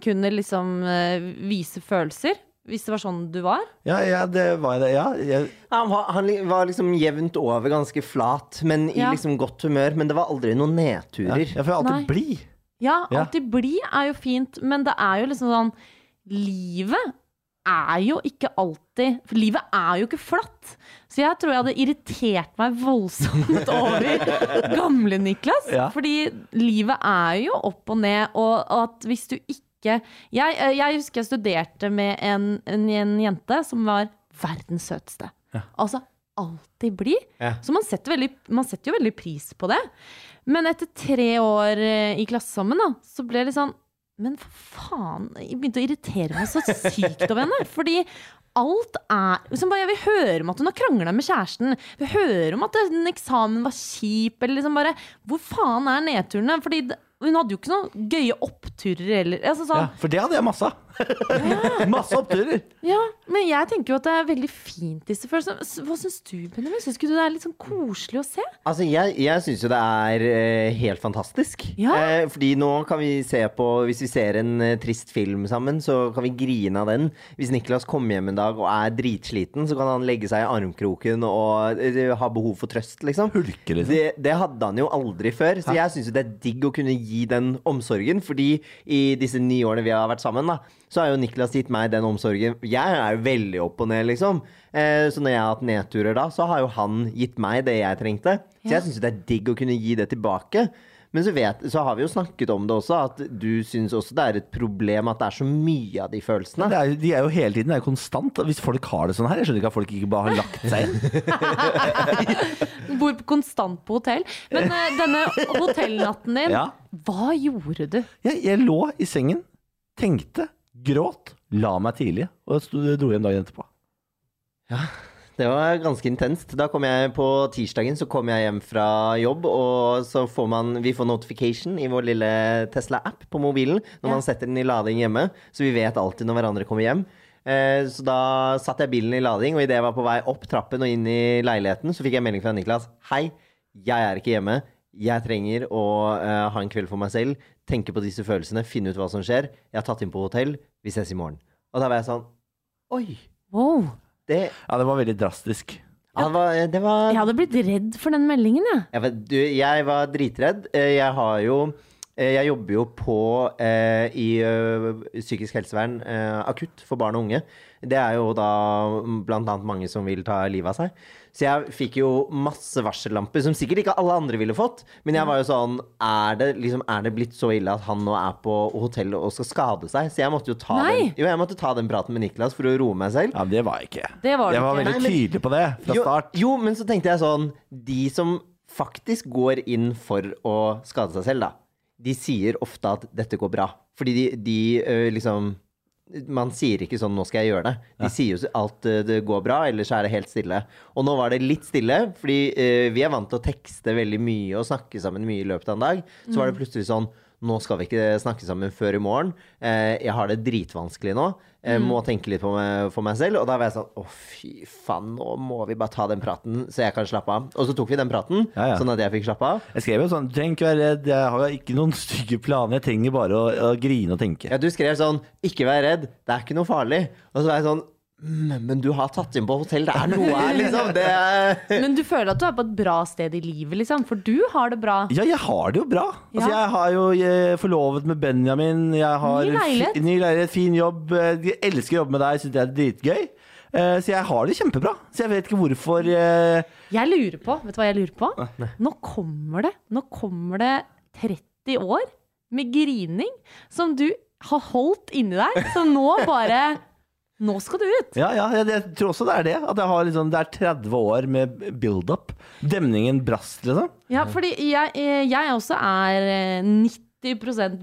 C: kunne liksom eh, vise følelser, hvis det var sånn du var
A: Ja, ja, det var det. Ja, jeg,
B: Han var, han li- var liksom jevnt over ganske flat, men i
C: Ja.
B: liksom godt humør. Men det var aldri noen
A: ja,
B: nedturer.
A: jeg får
C: Nei.
A: alltid bli.
C: Ja,
A: Ja.
C: alltid blid er jo fint, men det er jo liksom sånn Livet er jo ikke alltid For livet er jo ikke flatt. Så jeg tror jeg hadde irritert meg voldsomt over gamle Niklas.
A: Ja.
C: Fordi livet er jo opp og ned, og, og at hvis du ikke jeg, eh, jeg husker jeg studerte med en, en, en jente som var verdens søteste. Altså alltid blid.
B: Ja.
C: Så man setter, veldig, man setter jo veldig pris på det. Men etter tre år eh, i klasse sammen, da, så ble det sånn Men for faen! Jeg begynte å irritere meg så sykt over henne. Fordi alt er liksom bare, Jeg vil høre om at hun har krangla med kjæresten. Jeg vil høre om at den eksamen var kjip. Eller liksom bare Hvor faen er nedturene? Fordi det- hun hadde jo ikke noen gøye oppturer heller. Altså, sånn,
A: Ja, for det hadde jeg masse av. masse oppturer.
C: ja, men jeg tenker jo at det er veldig fint, disse følelsene. S- Hva syns du, Benjamin? Syns ikke du det er litt sånn koselig å se?
B: Altså, jeg, jeg syns jo det er eh, helt fantastisk.
C: Ja.
B: Eh, fordi nå kan vi se på Hvis vi ser en eh, trist film sammen, så kan vi grine av den. Hvis Niklas kommer hjem en dag og er dritsliten, så kan han legge seg i armkroken og eh, ha behov for trøst, liksom.
A: Hulke, liksom.
B: Det, det hadde han jo aldri før, så jeg syns jo det er digg å kunne gi den omsorgen. Fordi i disse ni årene vi har vært sammen, da, så har jo Niklas gitt meg den omsorgen. Jeg er jo veldig opp og ned, liksom. Eh, Så når jeg har hatt nedturer da, så har jo han gitt meg det jeg trengte. Så
C: Ja.
B: jeg syns jo det er digg å kunne gi det tilbake. Men så, vet, så har vi jo snakket om det også, at du syns også det er et problem at det er så mye av de følelsene.
A: Det er, jo- de er jo hele tiden, det er jo konstant. Hvis folk har det sånn her, jeg skjønner ikke at folk ikke bare har lagt seg inn.
C: Bor konstant på hotell. Men eh, denne hotellnatten din,
A: Ja.
C: hva gjorde du?
A: Jeg, jeg lå i sengen, tenkte, gråt, la meg tidlig, og sto- dro hjem dagen etterpå.
B: Det var ganske intenst. Da kom jeg På tirsdagen så kom jeg hjem fra jobb, og så får man Vi får notification i vår lille Tesla-app på mobilen når
C: Ja.
B: man setter den i lading hjemme, så vi vet alltid når hverandre kommer hjem. Eh, Så da satte jeg bilen i lading, og idet jeg var på vei opp trappen og inn i leiligheten, så fikk jeg melding fra Niklas. Hei, jeg er ikke hjemme. Jeg trenger å eh, ha en kveld for meg selv, tenke på disse følelsene, finne ut hva som skjer. Jeg har tatt inn på hotell. Vi ses i morgen. Og da var jeg sånn Oi!
C: Wow.
B: Det
A: Ja, det var veldig drastisk.
B: han var, eh, det var
C: Jeg hadde blitt redd for den meldingen, jeg.
B: jeg, vet, du, jeg var dritredd. Eh, Jeg har jo eh, jeg jobber jo på eh, i eh, psykisk helsevern eh, akutt for barn og unge. Det er jo da mm, blant annet mange som vil ta livet av seg. Så jeg fikk jo masse varsellamper, som sikkert ikke alle andre ville fått. Men jeg var jo sånn Er det, liksom, er det blitt så ille at han nå er på hotell og skal skade seg? Så jeg måtte jo ta,
C: Nei.
B: den, jo, jeg måtte ta den praten med Niklas for å roe meg selv.
A: Ja, det var jeg ikke.
C: Det var du
A: jeg var
C: ikke.
A: veldig
B: Nei,
A: tydelig på det fra
B: Jo-
A: start.
B: Jo, men så tenkte jeg sånn De som faktisk går inn for å skade seg selv, da, de sier ofte at 'dette går bra'. Fordi de, de øh, liksom man sier ikke sånn 'nå skal jeg gjøre det'. De sier jo så- alt øh, 'det går bra', eller så er det helt stille. Og nå var det litt stille, fordi øh, vi er vant til å tekste veldig mye og snakke sammen mye i løpet av en dag. Så var det plutselig sånn 'nå skal vi ikke snakke sammen før i morgen'. Eh, jeg har det dritvanskelig nå. Jeg
C: Mm.
B: må tenke litt på meg, for meg selv. Og da var jeg sånn 'å, fy faen, nå må vi bare ta den praten, så jeg kan slappe av'. Og så tok vi den praten,
A: Ja, ja.
B: sånn at jeg fikk slappe av.
A: Jeg skrev jo sånn Du trenger ikke være redd, jeg har jo ikke noen stygge planer. Jeg trenger bare å, å grine og tenke.
B: Ja, du skrev sånn 'ikke vær redd, det er ikke noe farlig'. Og så var jeg sånn «Mm, men du har tatt inn på hotell, det er noe her, liksom. Det er...
C: Men du føler at du er på et bra sted i livet, liksom? For du har det bra.
A: Ja, jeg har det jo bra. Altså,
C: Ja.
A: Jeg har jo eh, forlovet med Benjamin. Jeg har
C: Ny leilighet.
A: fi- ny leilighet, fin jobb. eh, Jeg elsker å jobbe med deg, syns det er dritgøy. Eh, Så jeg har det kjempebra. Så jeg vet ikke hvorfor eh,
C: Jeg lurer på, vet du hva jeg lurer på? Nå kommer det, nå kommer det 30 år med grining som du har holdt inni deg, som nå bare Nå skal du ut!
A: Ja, ja, jeg, jeg tror også det er det. At jeg har liksom, det er 30 år med build-up. Demningen brast, liksom.
C: Ja, fordi jeg, eh, jeg også er eh, 90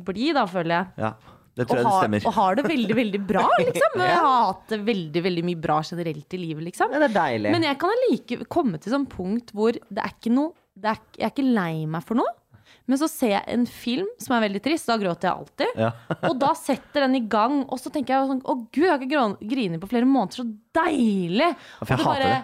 C: blid, da, føler jeg.
A: Ja, det
C: Og
A: tror jeg det
C: har,
A: stemmer.
C: og har det veldig, veldig bra, liksom. Jeg har hatt det veldig, veldig mye bra generelt i livet, liksom.
B: Men det er deilig.
C: Men jeg kan like komme til sånn punkt hvor det er ikke noe det er, ikke- Jeg er ikke lei meg for noe. Men så ser jeg en film som er veldig trist. Da gråter jeg alltid.
A: Ja.
C: og da setter den i gang. Og så tenker jeg sånn Å, gud, jeg har ikke grå- grinet på flere måneder. Så deilig!
A: for jeg
C: Og
A: hater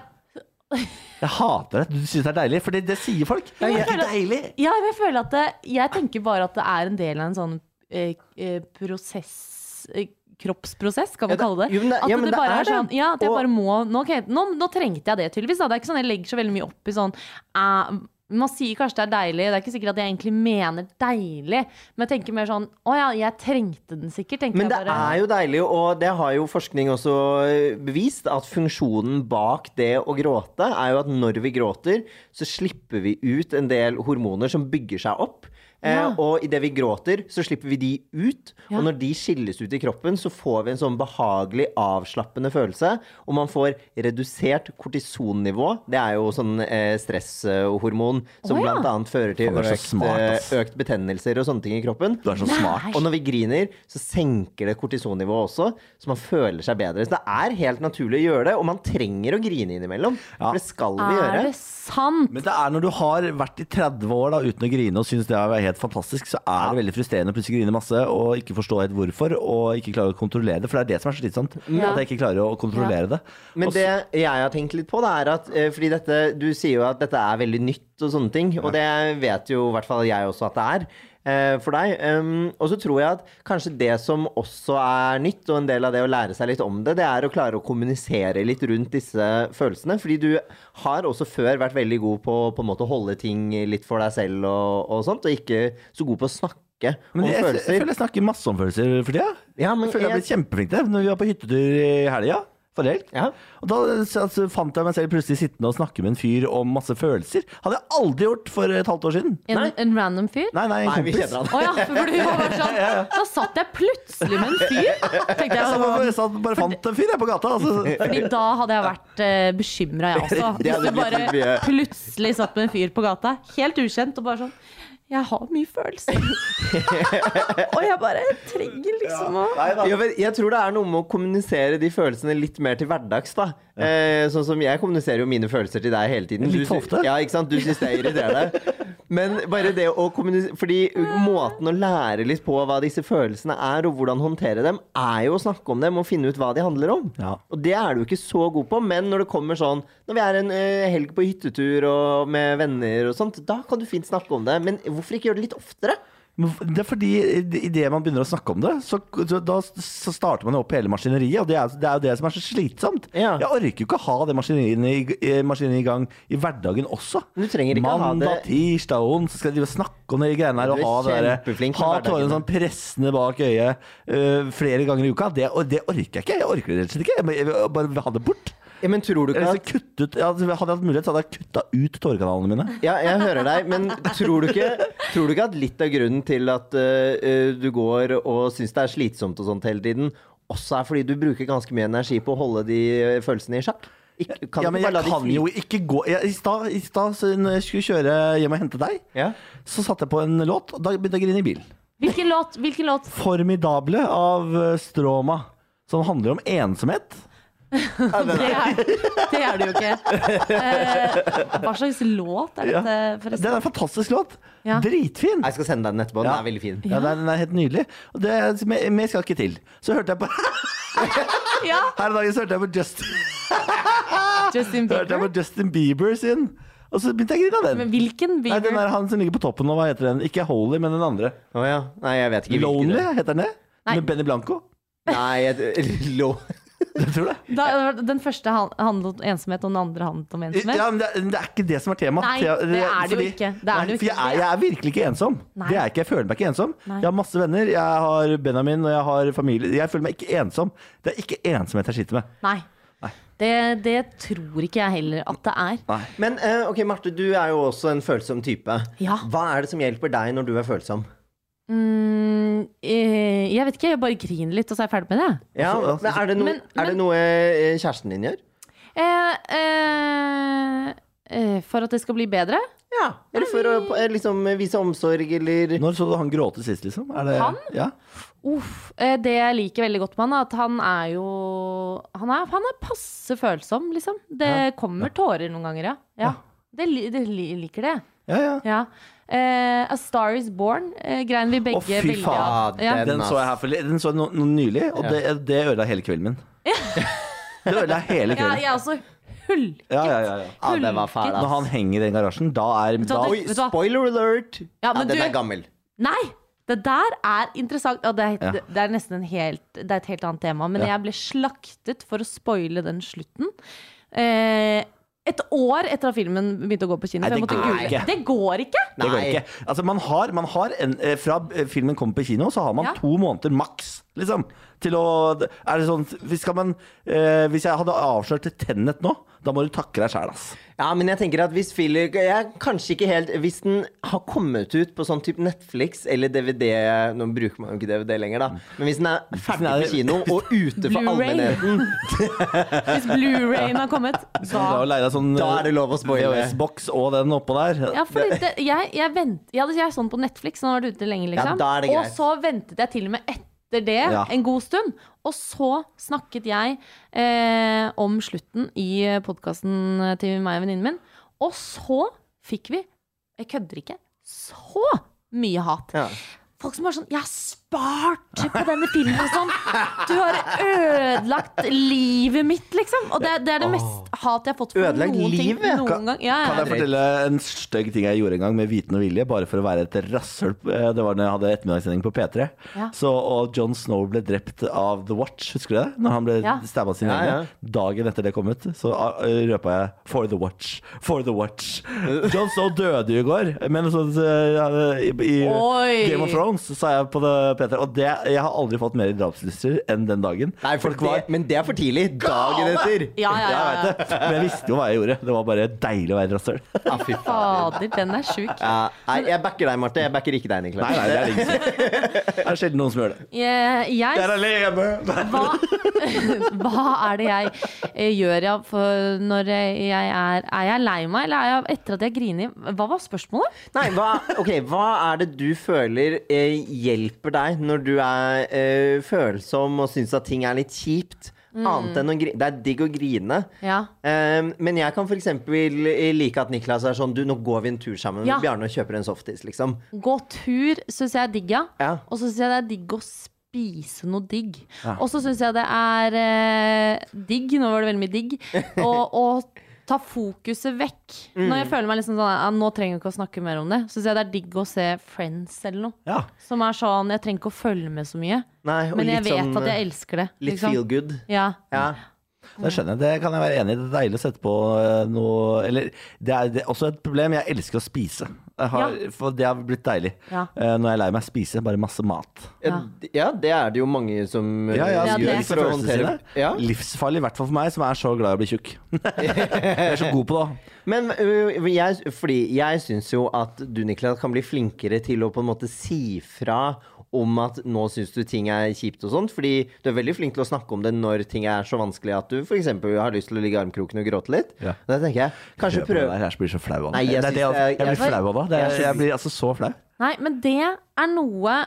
A: det. Jeg hater det. Du syns det er deilig, for det, det sier folk. Det er ikke deilig.
C: Ja, men jeg føler at det, Jeg tenker bare at det er en del av en sånn eh, eh, prosess eh, Kroppsprosess, kan
B: Ja,
C: man
B: det-
C: kalle det.
B: jo, men det-
C: at
B: ja, men
C: det
B: det
C: bare
B: er
C: er sånn
B: det.
C: Ja, at jeg
B: Og-
C: bare må nå, ok, nå, nå trengte jeg det tydeligvis. Da. Det er ikke sånn jeg legger så veldig mye opp i sånn eh, Man sier kanskje det er deilig, det er ikke sikkert at jeg egentlig mener deilig, men jeg tenker mer sånn Å ja, jeg trengte den sikkert, tenker
B: Men det
C: jeg bare.
B: er jo deilig, og det har jo forskning også eh, bevist, at funksjonen bak det å gråte er jo at når vi gråter, så slipper vi ut en del hormoner som bygger seg opp. Eh,
C: Ja.
B: og idet vi gråter, så slipper vi de ut.
C: Ja.
B: Og når de skilles ut i kroppen, så får vi en sånn behagelig, avslappende følelse. Og man får redusert kortisonnivå. Det er jo sånn eh, stresshormon som
C: Å, ja.
B: blant annet fører
A: Faen,
B: til
A: du er så
B: økt,
A: smart,
B: eh,
A: ass.
B: økt betennelser og sånne ting i kroppen.
A: Du er så
C: Nei.
A: smart.
B: Og når vi griner, så senker det kortisonnivået også, så man føler seg bedre. Så det er helt naturlig å gjøre det, og man trenger å grine innimellom. For det skal vi gjøre.
C: er det sant?
A: Men det er når du har vært i 30 år da, uten å grine og syns det er helt fantastisk, så er det veldig frustrerende å plutselig grine masse og ikke forstå helt hvorfor, og ikke klare å kontrollere det. For det er det som er slitsomt.
C: Ja.
A: At jeg ikke klarer å kontrollere det.
B: Men
A: Og
B: det jeg har tenkt litt på, det er at eh, fordi dette, du sier jo at dette er veldig nytt og sånne ting, og det vet jo i hvert fall jeg også at det er eh, for deg. Um, og så tror jeg at kanskje det som også er nytt, og en del av det å lære seg litt om det, det er å klare å kommunisere litt rundt disse følelsene. Fordi du har også før vært veldig god på på en måte å holde ting litt for deg selv og, og sånt, og ikke så god på å snakke om
A: Men jeg, jeg,
B: følelser.
A: føler jeg snakker masse om følelser for tida.
B: Ja, men
A: jeg føler jeg har
B: jeg-
A: blitt kjempeflink til det. Når vi var på hyttetur i helga, forrige helg,
B: Ja.
A: og da så- så fant jeg meg selv plutselig sittende og snakke med en fyr om masse følelser. Hadde jeg aldri gjort for et halvt år siden.
C: En, en random fyr?
A: Nei, nei, en
B: Nei, vi
A: kompis.
B: kjenner han.
C: Å ja, for du var bare sånn Da satt jeg plutselig med en fyr. Tenkte jeg
A: Jeg
C: sånn,
A: bare, jeg satt- bare fant en fyr jeg på gata. Altså.
C: Fordi da hadde jeg vært uh, bekymra, jeg også.
B: Det hadde
C: Hvis jeg
B: blitt litt
C: bare
B: mye.
C: plutselig satt med en fyr på gata, helt ukjent, og bare sånn Jeg har mye følelser. og jeg bare trenger liksom å
B: Ja, men jeg tror det er noe med å kommunisere de følelsene litt mer til hverdags. da eh, Sånn som Jeg kommuniserer jo mine følelser til deg hele tiden.
A: Litt for
B: sy-
A: ofte.
B: Ja, ikke sant? Du syns det er irriterende. Men bare det å kommunisere Fordi måten å lære litt på hva disse følelsene er, og hvordan håndtere dem, er jo å snakke om dem og finne ut hva de handler om.
A: Ja.
B: Og det er du ikke så god på, men når det kommer sånn Når vi er en eh, helg på hyttetur og med venner og sånt, da kan du fint snakke om det. Men hvorfor ikke gjøre det litt oftere?
A: Men Det er fordi idet man begynner å snakke om det, så, så, da, så starter man jo opp hele maskineriet. Og det er, det er jo det som er så slitsomt.
B: Ja.
A: Jeg orker jo ikke å ha det maskineriet i, eh, maskineriet i gang i hverdagen også.
B: Men du trenger ikke å ha det-
A: Mandag, tirsdag og onsdag skal jeg drive og snakke om de greiene her
B: Du
A: og
B: er
A: ha, det der-
B: kjempeflink med
A: ha
B: hverdagen.
A: tårene sånn pressende bak øyet eh, flere ganger i uka. Det, og det orker jeg ikke. Jeg orker det rett og slett ikke. Jeg må- Jeg vil bare ha det bort.
B: Ja, men tror du
A: Jeg
B: ikke
A: har
B: at
A: lyst til å kutte ut, hadde jeg hatt mulighet, så hadde jeg kutta ut tårekanalene mine.
B: Ja, jeg hører deg, men tror du ikke, tror du ikke at litt av grunnen til at øh, øh, du går og syns det er slitsomt og sånt hele tiden, også er fordi du bruker ganske mye energi på å holde de øh, følelsene i sjakk? Ikke, kan
A: ja,
B: du
A: men
B: ikke bare
A: jeg
B: la de
A: kan
B: fly?
A: jo ikke gå jeg, I stad, i stad så når jeg skulle kjøre hjem og hente deg,
B: Ja.
A: så satte jeg på en låt, og da begynte jeg å grine i bilen.
C: Hvilken låt? Hvilken låt?
A: 'Formidable' av eh, Stroma, som handler om ensomhet.
C: Det er, det er det jo ikke. Eh, hva slags låt er dette,
A: Det
C: forresten?
A: er en fantastisk låt.
C: Ja.
A: Dritfin.
B: Jeg skal sende deg den etterpå. Den
A: Ja.
B: er veldig fin.
A: Ja, den er- den er helt nydelig. Og det, mer mer skal ikke til. Så hørte jeg på
C: Ja,
A: Her om dagen så hørte jeg på Justin,
C: Justin
A: hørte jeg
C: Bieber.
A: på Justin Bieber sin, og så begynte jeg å grine av den.
C: Men hvilken
A: Nei, den
C: Bieber?
A: er han som ligger på toppen nå, hva heter den? Ikke Holy, men den andre.
B: Å ja. Nei, jeg vet ikke hvilken
A: Lonely,
B: det er.
A: heter den det?
C: Nei.
A: Med Benny Blanco?
B: Nei, jeg, lo.
A: Du tror det?
C: Da, den første han- handlet om ensomhet, og den andre handlet om ensomhet.
A: Ja, men det, er- det er ikke det som er tema.
C: Nei, det er det jo ikke. Det er
A: nei,
C: det jo
A: for jeg,
C: ikke.
A: er, jeg er virkelig ikke ensom. Det
C: Nei.
A: er jeg ikke, Jeg føler meg ikke ensom.
C: Nei.
A: Jeg har masse venner, jeg har Benjamin og jeg har familie. Jeg føler meg ikke ensom. Det er ikke ensomhet jeg sliter med.
C: Nei. Det, det tror ikke jeg heller at det er.
A: Nei.
B: Men eh, ok, Marte, du er jo også en følsom type.
C: Ja.
B: Hva er det som hjelper deg når du er følsom?
C: Mm, eh, jeg vet ikke, jeg bare griner litt, og så er jeg ferdig med det.
B: Ja,
A: Altså, altså,
B: men er, det no,
C: men-
B: er det noe eh, kjæresten din gjør?
C: Eh, eh, eh, for at det skal bli bedre?
B: Ja. Eller for å eh, liksom, vise omsorg, eller
A: Når så du han gråte sist, liksom? Er det,
C: Han?
A: Ja.
C: Uff, eh, det jeg liker veldig godt med han, er at han er jo Han er, han er passe følsom, liksom. Det kommer tårer noen ganger, ja. ja. Det, li- det li- liker det.
A: ja, ja.
C: Ja. Eh, A Star Is Born eh, grein vi begge
A: Å, fy
C: veldig av.
B: fader.
C: Ja.
B: Den,
A: Den så jeg her for litt. Den så jeg no, no, nylig, og det, det ødela hele kvelden min. det ødela hele
C: Ja,
A: kvelden.
C: jeg er også hulket.
A: Ja, ja, ja, ja.
B: Ja, det var fæl,
A: Når
B: ass.
A: han henger i den garasjen, da er
C: du hva,
A: da,
C: det-
B: Oi,
C: Vet du hva?
B: spoiler alert!
C: Ja,
B: Ja,
C: men
B: den
C: du-
B: er gammel.
C: Nei! Det der er interessant. Ja, det,
A: Ja.
C: er, det er nesten en helt, det er et helt annet tema. Men
A: Ja.
C: jeg ble slaktet for å spoile den slutten. Eh, et år etter at filmen begynte å gå på kino.
A: Nei,
C: for jeg
A: det
C: måtte
A: går
C: google.
A: ikke.
C: Det går ikke!
A: Det går
B: Nei.
A: ikke. Altså, man har, man har en, eh, fra eh, filmen kommer på kino, så har man
C: Ja.
A: to måneder maks. Liksom, til å Er det sånn Hvis, skal man, eh, hvis jeg hadde avslørt Tennet nå, da må du takke deg sjæl, ass.
B: Ja, men jeg tenker at hvis Filler jeg, Kanskje ikke helt Hvis den har kommet ut på sånn type Netflix eller DVD Nå bruker man jo ikke DVD lenger, da. Men hvis den er ferdig
A: Nei,
B: på kino og ute for
C: Blu-ray.
B: allmennheten,
C: Hvis Blu-rayen har kommet,
A: Da,
C: da
A: deg sånn,
B: da er det lov å spoile.
A: VHS-boks og den oppå der.
C: Ja, fordi det, jeg, jeg, vent, jeg hadde jeg sånn på Netflix, nå har vært ute lenge, liksom.
B: Ja, da er det greit.
C: og så ventet jeg til og med etter det
A: Ja.
C: en god stund. Og så snakket jeg eh, om slutten i podkasten til meg og venninnen min. Og så fikk vi, jeg kødder ikke, så mye hat.
B: Ja.
C: Folk som var sånn 'Jeg har spart på denne filmen' og sånn. 'Du har ødelagt livet mitt', liksom. Og det, det er det mest hat jeg har fått for
B: Ødelagt
C: noen
B: livet?
C: ting
A: Kan-
C: noen gang. Ja, ja.
A: Kan jeg fortelle en stygg ting jeg gjorde en gang med viten og vilje, bare for å være et rasshøl? Eh, Det var da jeg hadde ettermiddagssending på P3.
C: Ja.
A: Så, og John Snow ble drept av The Watch, husker du det? Når han ble
C: Ja.
A: stabba sine
B: Ja,
A: egne.
B: ja.
A: Dagen etter det kom ut, så ah, røpa jeg 'For the Watch'. For the Watch. John Snow døde jo i går, men så, så, ja, i, i
C: Oi.
A: Game of Thrones sa jeg på det, P3, og det, jeg har aldri fått mer drapslyster enn den dagen.
B: Nei, for det, men det er for tidlig. Dagen etter.
C: Ja, ja, ja.
A: Jeg
C: ja.
A: vet det, men jeg visste jo hva jeg gjorde. Det var bare deilig å være rasshøl.
B: Ja, Ah, fy faen.
C: Fader, den er sjuk.
B: Ja, nei, jeg backer deg, Marte. Jeg backer ikke deg, Niklas.
A: Nei, nei, det er det ikke. Det er sjelden noen som gjør det.
C: Eh, Jeg, jeg
A: alene!
C: hva, hva er det jeg eh, gjør ja, for når jeg er Er jeg lei meg, eller er jeg etter at jeg griner? Hva var spørsmålet?
B: Nei, hva, ok, hva er det du føler eh, hjelper deg når du er eh, følsom og syns at ting er litt kjipt? Annet enn å grine. Det er digg å grine.
C: Ja.
B: Um, men jeg kan f.eks. like at Niklas er sånn Du, nå går vi en tur sammen
C: Ja.
B: med Bjarne og kjøper en softis, liksom.
C: Gå tur syns jeg er digg, ja.
B: Ja.
C: Og så syns jeg det er digg å spise noe digg. Og så syns jeg det er eh, digg, nå var det veldig mye digg, å, å ta fokuset vekk. Når jeg føler meg liksom sånn ja, Nå trenger vi ikke å snakke mer om det. Syns jeg det er digg å se Friends eller noe.
A: Ja.
C: Som er sånn Jeg trenger ikke å følge med så mye.
B: Nei, og
C: Men jeg
B: litt
C: vet
B: sånn,
C: at
A: eh,
C: jeg elsker det.
B: Litt
C: liksom.
B: feel good.
C: Ja.
B: Ja.
A: Det skjønner jeg. Det kan jeg være enig i. Det er deilig å sette på eh, noe Eller det er, det er også et problem. Jeg elsker å spise. Jeg har,
C: Ja.
A: For det har blitt deilig.
C: Ja.
A: Eh, Når jeg er lei meg, spise bare masse mat.
B: Ja. det er det jo mange som eh,
A: Ja, ja,
C: Ja, det-
B: gjør
A: spiser
B: for å
A: følelsene
B: håndtere
A: sine.
B: ja.
A: Livsfarlig, i hvert fall for meg, som er så glad i å bli tjukk. jeg er så god på det.
B: Men øh, jeg, fordi jeg syns jo at du, Niklas, kan bli flinkere til å på en måte si fra om at nå syns du ting er kjipt og sånt. Fordi du er veldig flink til å snakke om det når ting er så vanskelig at du f.eks. har lyst til å ligge i armkroken og gråte litt.
A: Ja.
B: Da tenker jeg kanskje
A: Prøv.
B: prøv
A: Jeg er så- blir så flau av det.
B: Nei, jeg
A: Det er det,
B: synes-
A: altså.
B: jeg-
A: Jeg blir
B: jeg-
A: flau av det. det.
B: jeg
A: er-
B: synes-
A: Jeg blir altså så flau.
C: Nei, men det er noe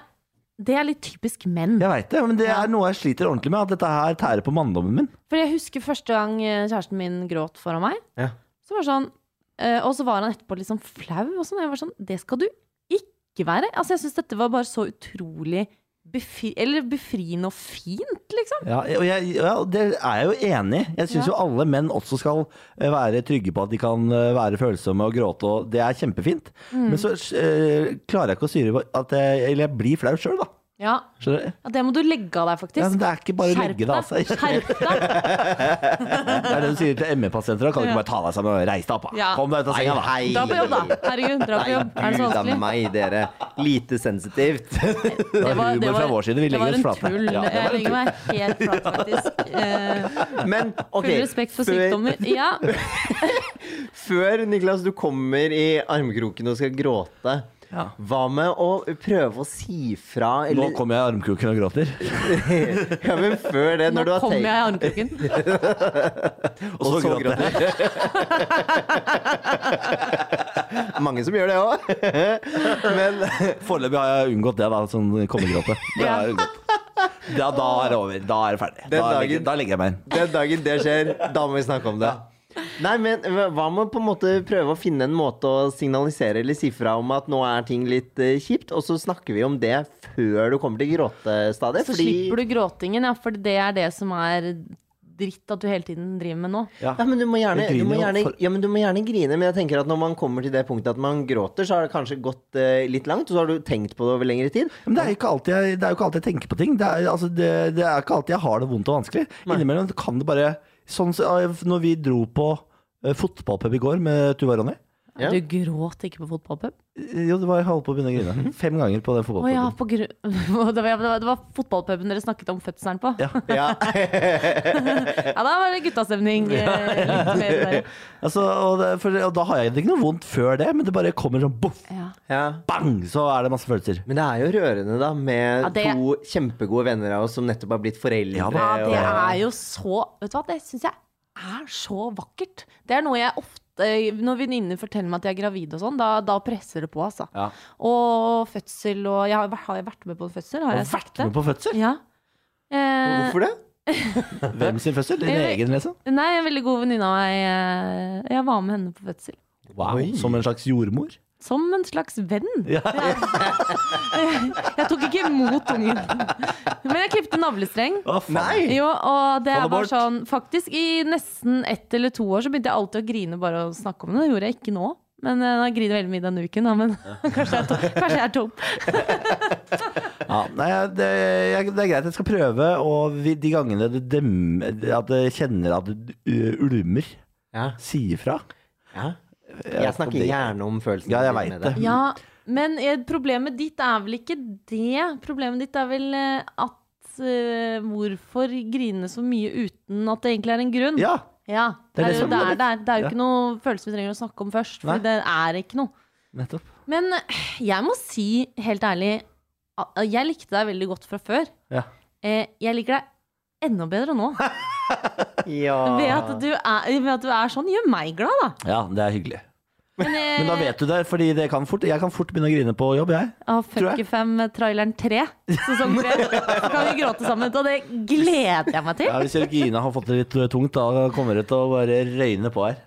C: Det er litt typisk menn.
A: Jeg veit det, men det er noe jeg sliter ordentlig med. At dette her tærer på manndommen min.
C: For jeg husker første gang eh, kjæresten min gråt foran meg.
B: Ja.
C: Så var det sånn, eh, og så var han etterpå litt sånn flau. Og sånn. Jeg var sånn, det skal du ikke være. Altså, jeg syns dette var bare så utrolig befri, eller befriende og fint, liksom.
A: Ja, og jeg, ja, og det er jeg jo enig i. Jeg syns
C: Ja.
A: jo alle menn også skal eh, være trygge på at de kan eh, være følsomme og gråte,
C: Mm.
A: og det er kjempefint. Men så eh, klarer jeg ikke å styre på at jeg, Eller jeg blir flau sjøl, da.
C: Ja.
A: Skjønner du?
C: ja, det må du legge av
A: Ja,
C: deg, faktisk.
A: men det er ikke bare å legge det av seg.
C: Skjerp deg!
A: Det er det du sier til ME-pasienter. da. Kan du ikke
C: Ja.
A: bare ta deg sammen og reise deg opp? da?
C: Ja.
A: Kom deg ut av
B: Nei,
A: senga, da.
B: hei.
C: Dra på jobb, da. Herregud, dra på
B: Nei,
C: jobb. Er det så
B: gud a
C: vanskelig?
B: meg, dere. Lite sensitivt.
A: Det var humor fra vår side. Vi
C: det
A: legger
C: var
A: oss
C: en
A: flate.
C: tull.
A: Ja, det var
C: Jeg
A: en
C: legger meg helt flat, faktisk. Eh,
B: Men ok,
C: Full respekt for
B: før-
C: sykdommer. Ja,
B: Før Niklas, du kommer i armkroken og skal gråte,
A: Ja.
B: hva med å prøve å si fra?
A: Nå
B: Eller,
A: kommer jeg i armkroken og gråter.
B: ja, men før det,
C: nå
B: når du har
C: kommer jeg
B: tenkt
C: i armkroken.
A: Og så gråter jeg.
B: Mange som gjør det òg. Men
A: Foreløpig har jeg unngått det, da. Sånn kommegråte. Det har jeg unngått. Ja, da er det over. Da er det ferdig. Da legger,
B: dagen-
A: da legger jeg meg inn.
B: den dagen det skjer, da må vi snakke om det. Nei, men Hva med på en måte prøve å finne en måte å signalisere eller si fra om at nå er ting litt eh, kjipt, og så snakker vi om det før du kommer til gråtestadiet?
C: Så slipper du gråtingen, ja, for det er det som er dritt at du hele tiden driver med nå.
A: Ja.
B: Ja, men du må, gjerne,
A: Jeg
B: du, må
A: griner jo
B: gjerne,
A: for-
B: ja, men du må gjerne grine, men jeg tenker at når man kommer til det punktet at man gråter, så har det kanskje gått eh, litt langt, og så har du tenkt på det over lengre tid.
A: Men det er, jo ikke alltid jeg, det er jo ikke alltid jeg tenker på ting. Det er, altså, det, det er ikke alltid jeg har det vondt og vanskelig. Innimellom kan det bare Sånn så, når vi dro på eh, fotballpub i går med Tuva og Ronny
B: Ja.
C: Du gråt ikke på fotballpub?
A: Jo, det var jeg holdt på å begynne å grine. Fem ganger på den
C: Å ja,
A: fotballpuben.
C: på gru... Det var, det var, det var fotballpuben dere snakket om fødselen på?
A: Ja.
B: Ja.
C: Ja, da var det guttastemning. eh, litt mer der.
A: Altså, og, det, for, og da har jeg det ikke noe vondt før det, men det bare kommer sånn boff,
C: Ja.
B: ja.
A: bang, så er det masse følelser.
B: Men det er jo rørende, da, med
C: Ja, det-
B: to kjempegode venner av oss som nettopp har blitt foreldre.
A: Ja,
C: Ja, det
B: og-
C: er jo så Vet du hva, det syns jeg er så vakkert. Det er noe jeg ofte Når venninner forteller meg at jeg er gravid og sånn, da, da presser det på, altså.
A: Ja.
C: Og fødsel og jeg har, har jeg vært med på en fødsel? Har
A: Har
C: jeg
A: du
C: sagt
A: vært
C: det?
A: med på fødsel?
C: Ja. Eh,
B: Hvorfor det?
A: Hvem sin fødsel? Din
C: Jeg-
A: egen, liksom?
C: Eh, Nei, en veldig god venninne av meg. eh, Jeg var med henne på fødsel.
A: Wow.
B: Oi.
A: Som en slags jordmor?
C: Som en slags venn.
A: Ja.
C: Jeg tok ikke imot ungen. Men jeg klipte navlestreng.
A: Å, faen.
B: Nei!
C: Jo, og det
A: Få det
C: var
A: bort.
C: sånn Faktisk i nesten ett eller to år så begynte jeg alltid å grine bare å snakke om det. Det gjorde jeg ikke nå. Men eh, jeg griner veldig mye denne uken, da. Men kanskje jeg er to- kanskje jeg er tom.
A: Ja, nei, det, jeg, det er greit, jeg skal prøve, og vi, de gangene det dem, at jeg kjenner at det uh, ulmer,
B: Ja.
A: si ifra.
B: ja. Jeg snakker
A: det-
B: gjerne om følelsene
A: Ja, jeg vet
B: mine med deg.
A: det.
C: Ja, men eh, problemet ditt er vel ikke det. Problemet ditt er vel eh, at eh, hvorfor grine så mye uten at det egentlig er en grunn?
A: Ja,
C: Ja, det er, jo
A: som-
C: der, det er, det er jo
A: Ja.
C: ikke noe følelse vi trenger å snakke om først. For
A: Nei.
C: det er ikke noe.
A: nettopp.
C: Men jeg må si helt ærlig at jeg likte deg veldig godt fra før.
A: Ja. Ah.
C: Eh, Jeg liker deg enda bedre nå.
B: Ja.
C: Ved at du er, ved at du er sånn, gjør meg glad, da.
A: ja, det er hyggelig.
C: Men, eh,
A: Men da vet du det, fordi det kan fort, jeg kan fort begynne å grine på jobb, jeg.
C: Av
A: tror jeg.
C: Fuckefam-traileren 3, sesong 3, eh, så kan vi gråte sammen. Og det gleder jeg meg til.
A: Ja, hvis Jørgina har fått det litt tungt, da kommer det til å bare røyne på her.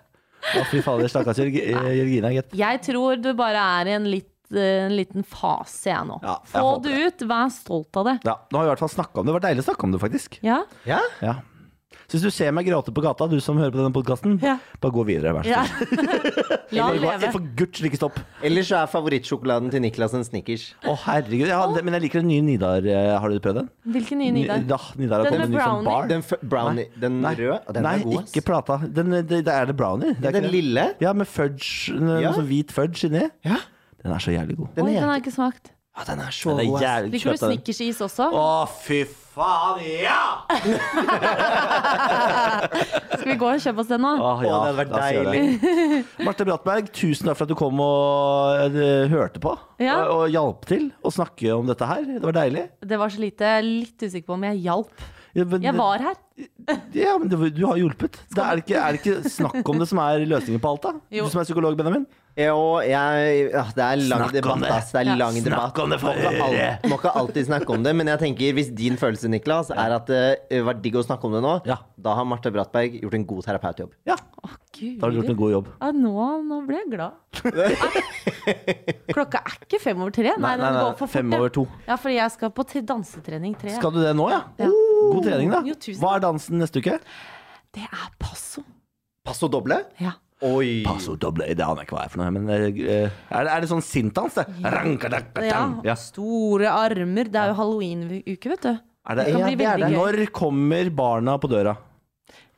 A: Å, fy fader, stakkars Jørg- eh, Jørgina, gitt.
C: Jeg tror du bare er i en, litt, eh, en liten fase, jeg nå.
A: Ja, jeg
C: Få
A: håper
C: det ut, vær stolt av det.
A: Ja, nå har vi i hvert fall snakka om det. Det var deilig å snakke om det, faktisk.
C: Ja?
B: ja?
A: Ja. Så hvis du ser meg gråte på gata, du som hører på denne podkasten,
C: Ja.
A: bare gå videre, vær så
C: ja.
A: snill.
C: La
A: Bare-
C: det
A: bare-
C: leve.
A: For guds skyld, ikke stopp.
B: Ellers så er favorittsjokoladen til Niklas en Snickers.
A: Å, herregud. Jeg har, Men jeg liker den nye Nidar. eh, Har du prøvd den?
C: Hvilken nye Nidar?
A: Ja, Nidar har
C: Den
A: kommet
C: med
A: ny som
C: brownie?
A: bar.
B: Den f brownie, den
A: Nei.
B: røde, og den
A: Nei,
B: er god. ass.
A: ikke plata. Den, eh, det, det er det brownie. Det er
B: Den
A: ikke det.
B: lille?
A: Ja, med fudge. Noe
B: Ja.
A: sånn hvit fudge inni.
B: Ja.
A: Den er så jævlig god.
C: Oi,
B: Den
C: den
B: er,
C: har jeg ikke smakt.
B: ja, den er så
A: Den er
B: god. ass.
A: jævlig
C: Liker du
A: kjøtt.
C: snickersis også?
A: Å, fy faen, ja!
C: Skal vi gå og kjøpe oss den nå?
A: Åh, ja,
B: Å, det hadde vært
A: la oss gjøre det. Marte Brattberg, tusen takk for at du kom og eh, hørte på.
C: Ja.
A: Og, og hjalp til å snakke om dette her. Det var deilig.
C: Det var så lite. jeg er Litt usikker på om jeg hjalp.
A: Ja, men-
C: Jeg var her.
A: Ja, men du, du har hjulpet. Det er, det ikke, er det ikke snakk om det som er løsningen på alt, da?
C: Jo.
A: Du som er psykolog, Benjamin.
B: Ja, og jeg, ja, det er lang
A: Snakk om
B: debatt,
A: det.
B: ass. Det er
C: Ja.
B: lang debatt.
A: Snakk om det for
B: Må ikke
A: øret.
B: al- Må ikke alltid snakke om det, men jeg tenker hvis din følelse, Niklas, er at eh, det var digg å snakke om det nå,
A: Ja.
B: da har Marte Brattberg gjort en god terapeutjobb.
A: Ja,
C: Å, gud.
A: da har du gjort en god jobb.
C: Ja, nå, nå ble jeg glad. Klokka er ikke fem over tre. Nei,
A: Nei, nei,
C: den
A: nei,
C: går for fort.
A: fem
C: ja.
A: over to.
C: Ja, for jeg skal på til dansetrening tre. ja.
A: Skal du det nå, ja? Oh,
C: Ja.
A: God trening, da.
C: Jo, tusen
A: Hva er dansen neste uke?
C: Det er passo.
B: Passo doble?
C: Ja.
B: Oi.
A: Paso doble Det aner jeg ikke hva er for noe, men eh, er det, er det sånn sintdans, det? Rankadakatang.
C: Ja. Store armer. Det er jo halloween-uke, vet du.
A: Er det,
B: Ja,
C: Det kan bli
B: det er
C: veldig gøy.
A: Når kommer barna på døra?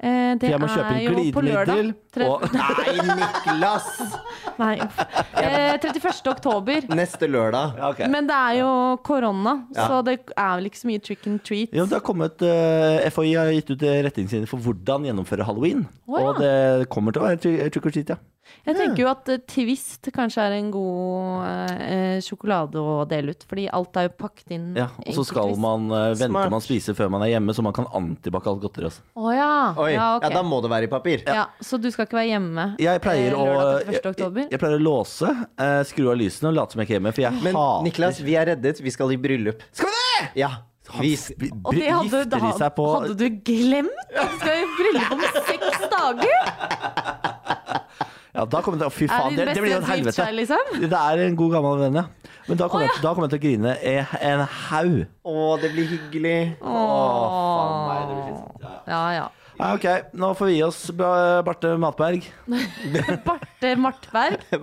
C: Eh, det
A: For jeg må kjøpe
C: er
A: en
C: jo på lørdag.
A: glidemiddel.
C: Tre-
A: Og
B: Nei, Niklas!
C: Nei, uff. Eh, 31. oktober.
B: Neste lørdag.
A: ja, ok.
C: Men det er jo korona,
B: Ja.
C: så det er vel ikke så mye trick and treat.
A: Ja, det har kommet, eh, FHI har gitt ut eh, retningslinjer for hvordan gjennomføre halloween.
C: Å, ja.
A: Og det kommer til å være tri- trick or treat, ja.
C: Jeg tenker jo at eh, Twist kanskje er en god eh, eh, sjokolade å dele ut, fordi alt er jo pakket inn.
A: ja. Og så skal man eh, vente
B: Smart.
A: man spiser før man er hjemme, så man kan antibac alt godteri. Altså.
C: Å ja.
B: Oi.
C: ja,
B: Ja,
C: ok.
B: da må det være i papir.
C: ja, så du skal ikke være hjemme
A: Jeg pleier
C: eh,
A: å
C: lørdag
A: jeg,
C: 31. oktober?
A: jeg pleier å låse, eh, skru av lysene og late som jeg ikke er hjemme, for jeg
B: Men
A: hater
B: Niklas, vi er reddet. Vi skal i bryllup.
A: Skal vi det?!
B: Ja.
A: Han
B: Vi,
A: sp- br-
C: Og det hadde,
A: gifter de
C: hadde,
A: seg på
C: hadde du glemt? Du skal i bryllup om seks dager!
A: Ja, da kommer det, å, fy
C: Er
A: faen,
C: din
A: det, det
C: beste
A: blir jo et
C: gift
A: helvete.
C: seg, liksom?
A: Det er en god gammel venn, ja. Men da kommer, jeg, da kommer jeg til å grine e- en haug.
B: å, det blir hyggelig.
C: Ja, ja.
A: Ja, ok, nå får vi gi oss, Ba- Barte Matberg.
C: Barte Martberg.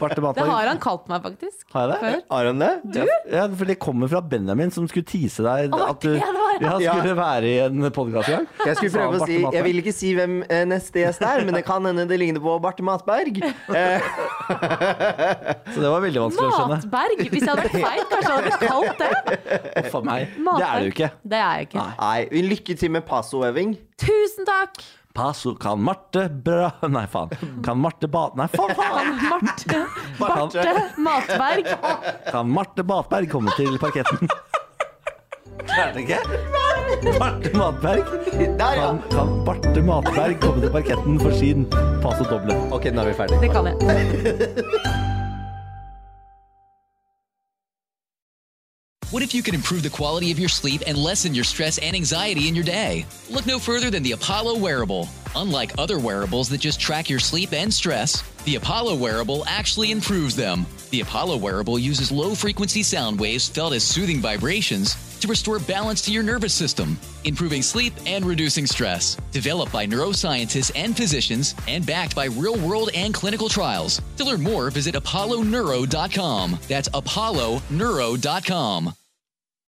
A: Barte
C: Det
A: Matberg.
C: har han kalt meg, faktisk.
A: Har jeg det?
C: Før.
B: Har han det?
A: Du? Ja, for det kommer fra Benjamin, som skulle tease deg
C: Å,
A: at du
C: det var det.
A: ja, skulle
B: Ja.
A: være i en podkast i dag.
B: Jeg skulle
A: Sa han
B: prøve å
A: Barte
B: si Jeg
A: Matberg?
B: vil ikke si hvem eh, neste gjest er, men det kan hende det ligner på Barte Matberg. Eh,
A: Så det var veldig vanskelig å skjønne.
C: Matberg! Hvis jeg hadde vært feit, kanskje jeg hadde kalt det.
A: Å, faen meg.
C: Matberg.
A: Det er det jo ikke.
C: Det er jeg ikke.
A: Nei.
B: Nei, lykke til med passoøving.
C: Tusen takk!
A: Paso, kan Marte bra Nei, faen. Kan Marte ba... Nei, faen, faen!
C: Marte, Barte Matberg.
A: Kan Marte Batberg komme til parketten? Er det ikke? Marte Matberg?
B: Der, ja!
A: Kan, kan Barte Matberg komme til parketten for sin Paso doble?
B: Ok, nå er vi ferdige.
C: Det kan jeg.
D: What if you could improve the quality of your sleep and lessen your stress and anxiety in your day? Look no further than the Apollo wearable. Unlike other wearables that just track your sleep and stress, the Apollo wearable actually improves them. The Apollo wearable uses low frequency sound waves felt as soothing vibrations to restore balance to your nervous system, improving sleep and reducing stress. Developed by neuroscientists and physicians and backed by real world and clinical trials. To learn more, visit apolloneuro.com. That's apolloneuro.com.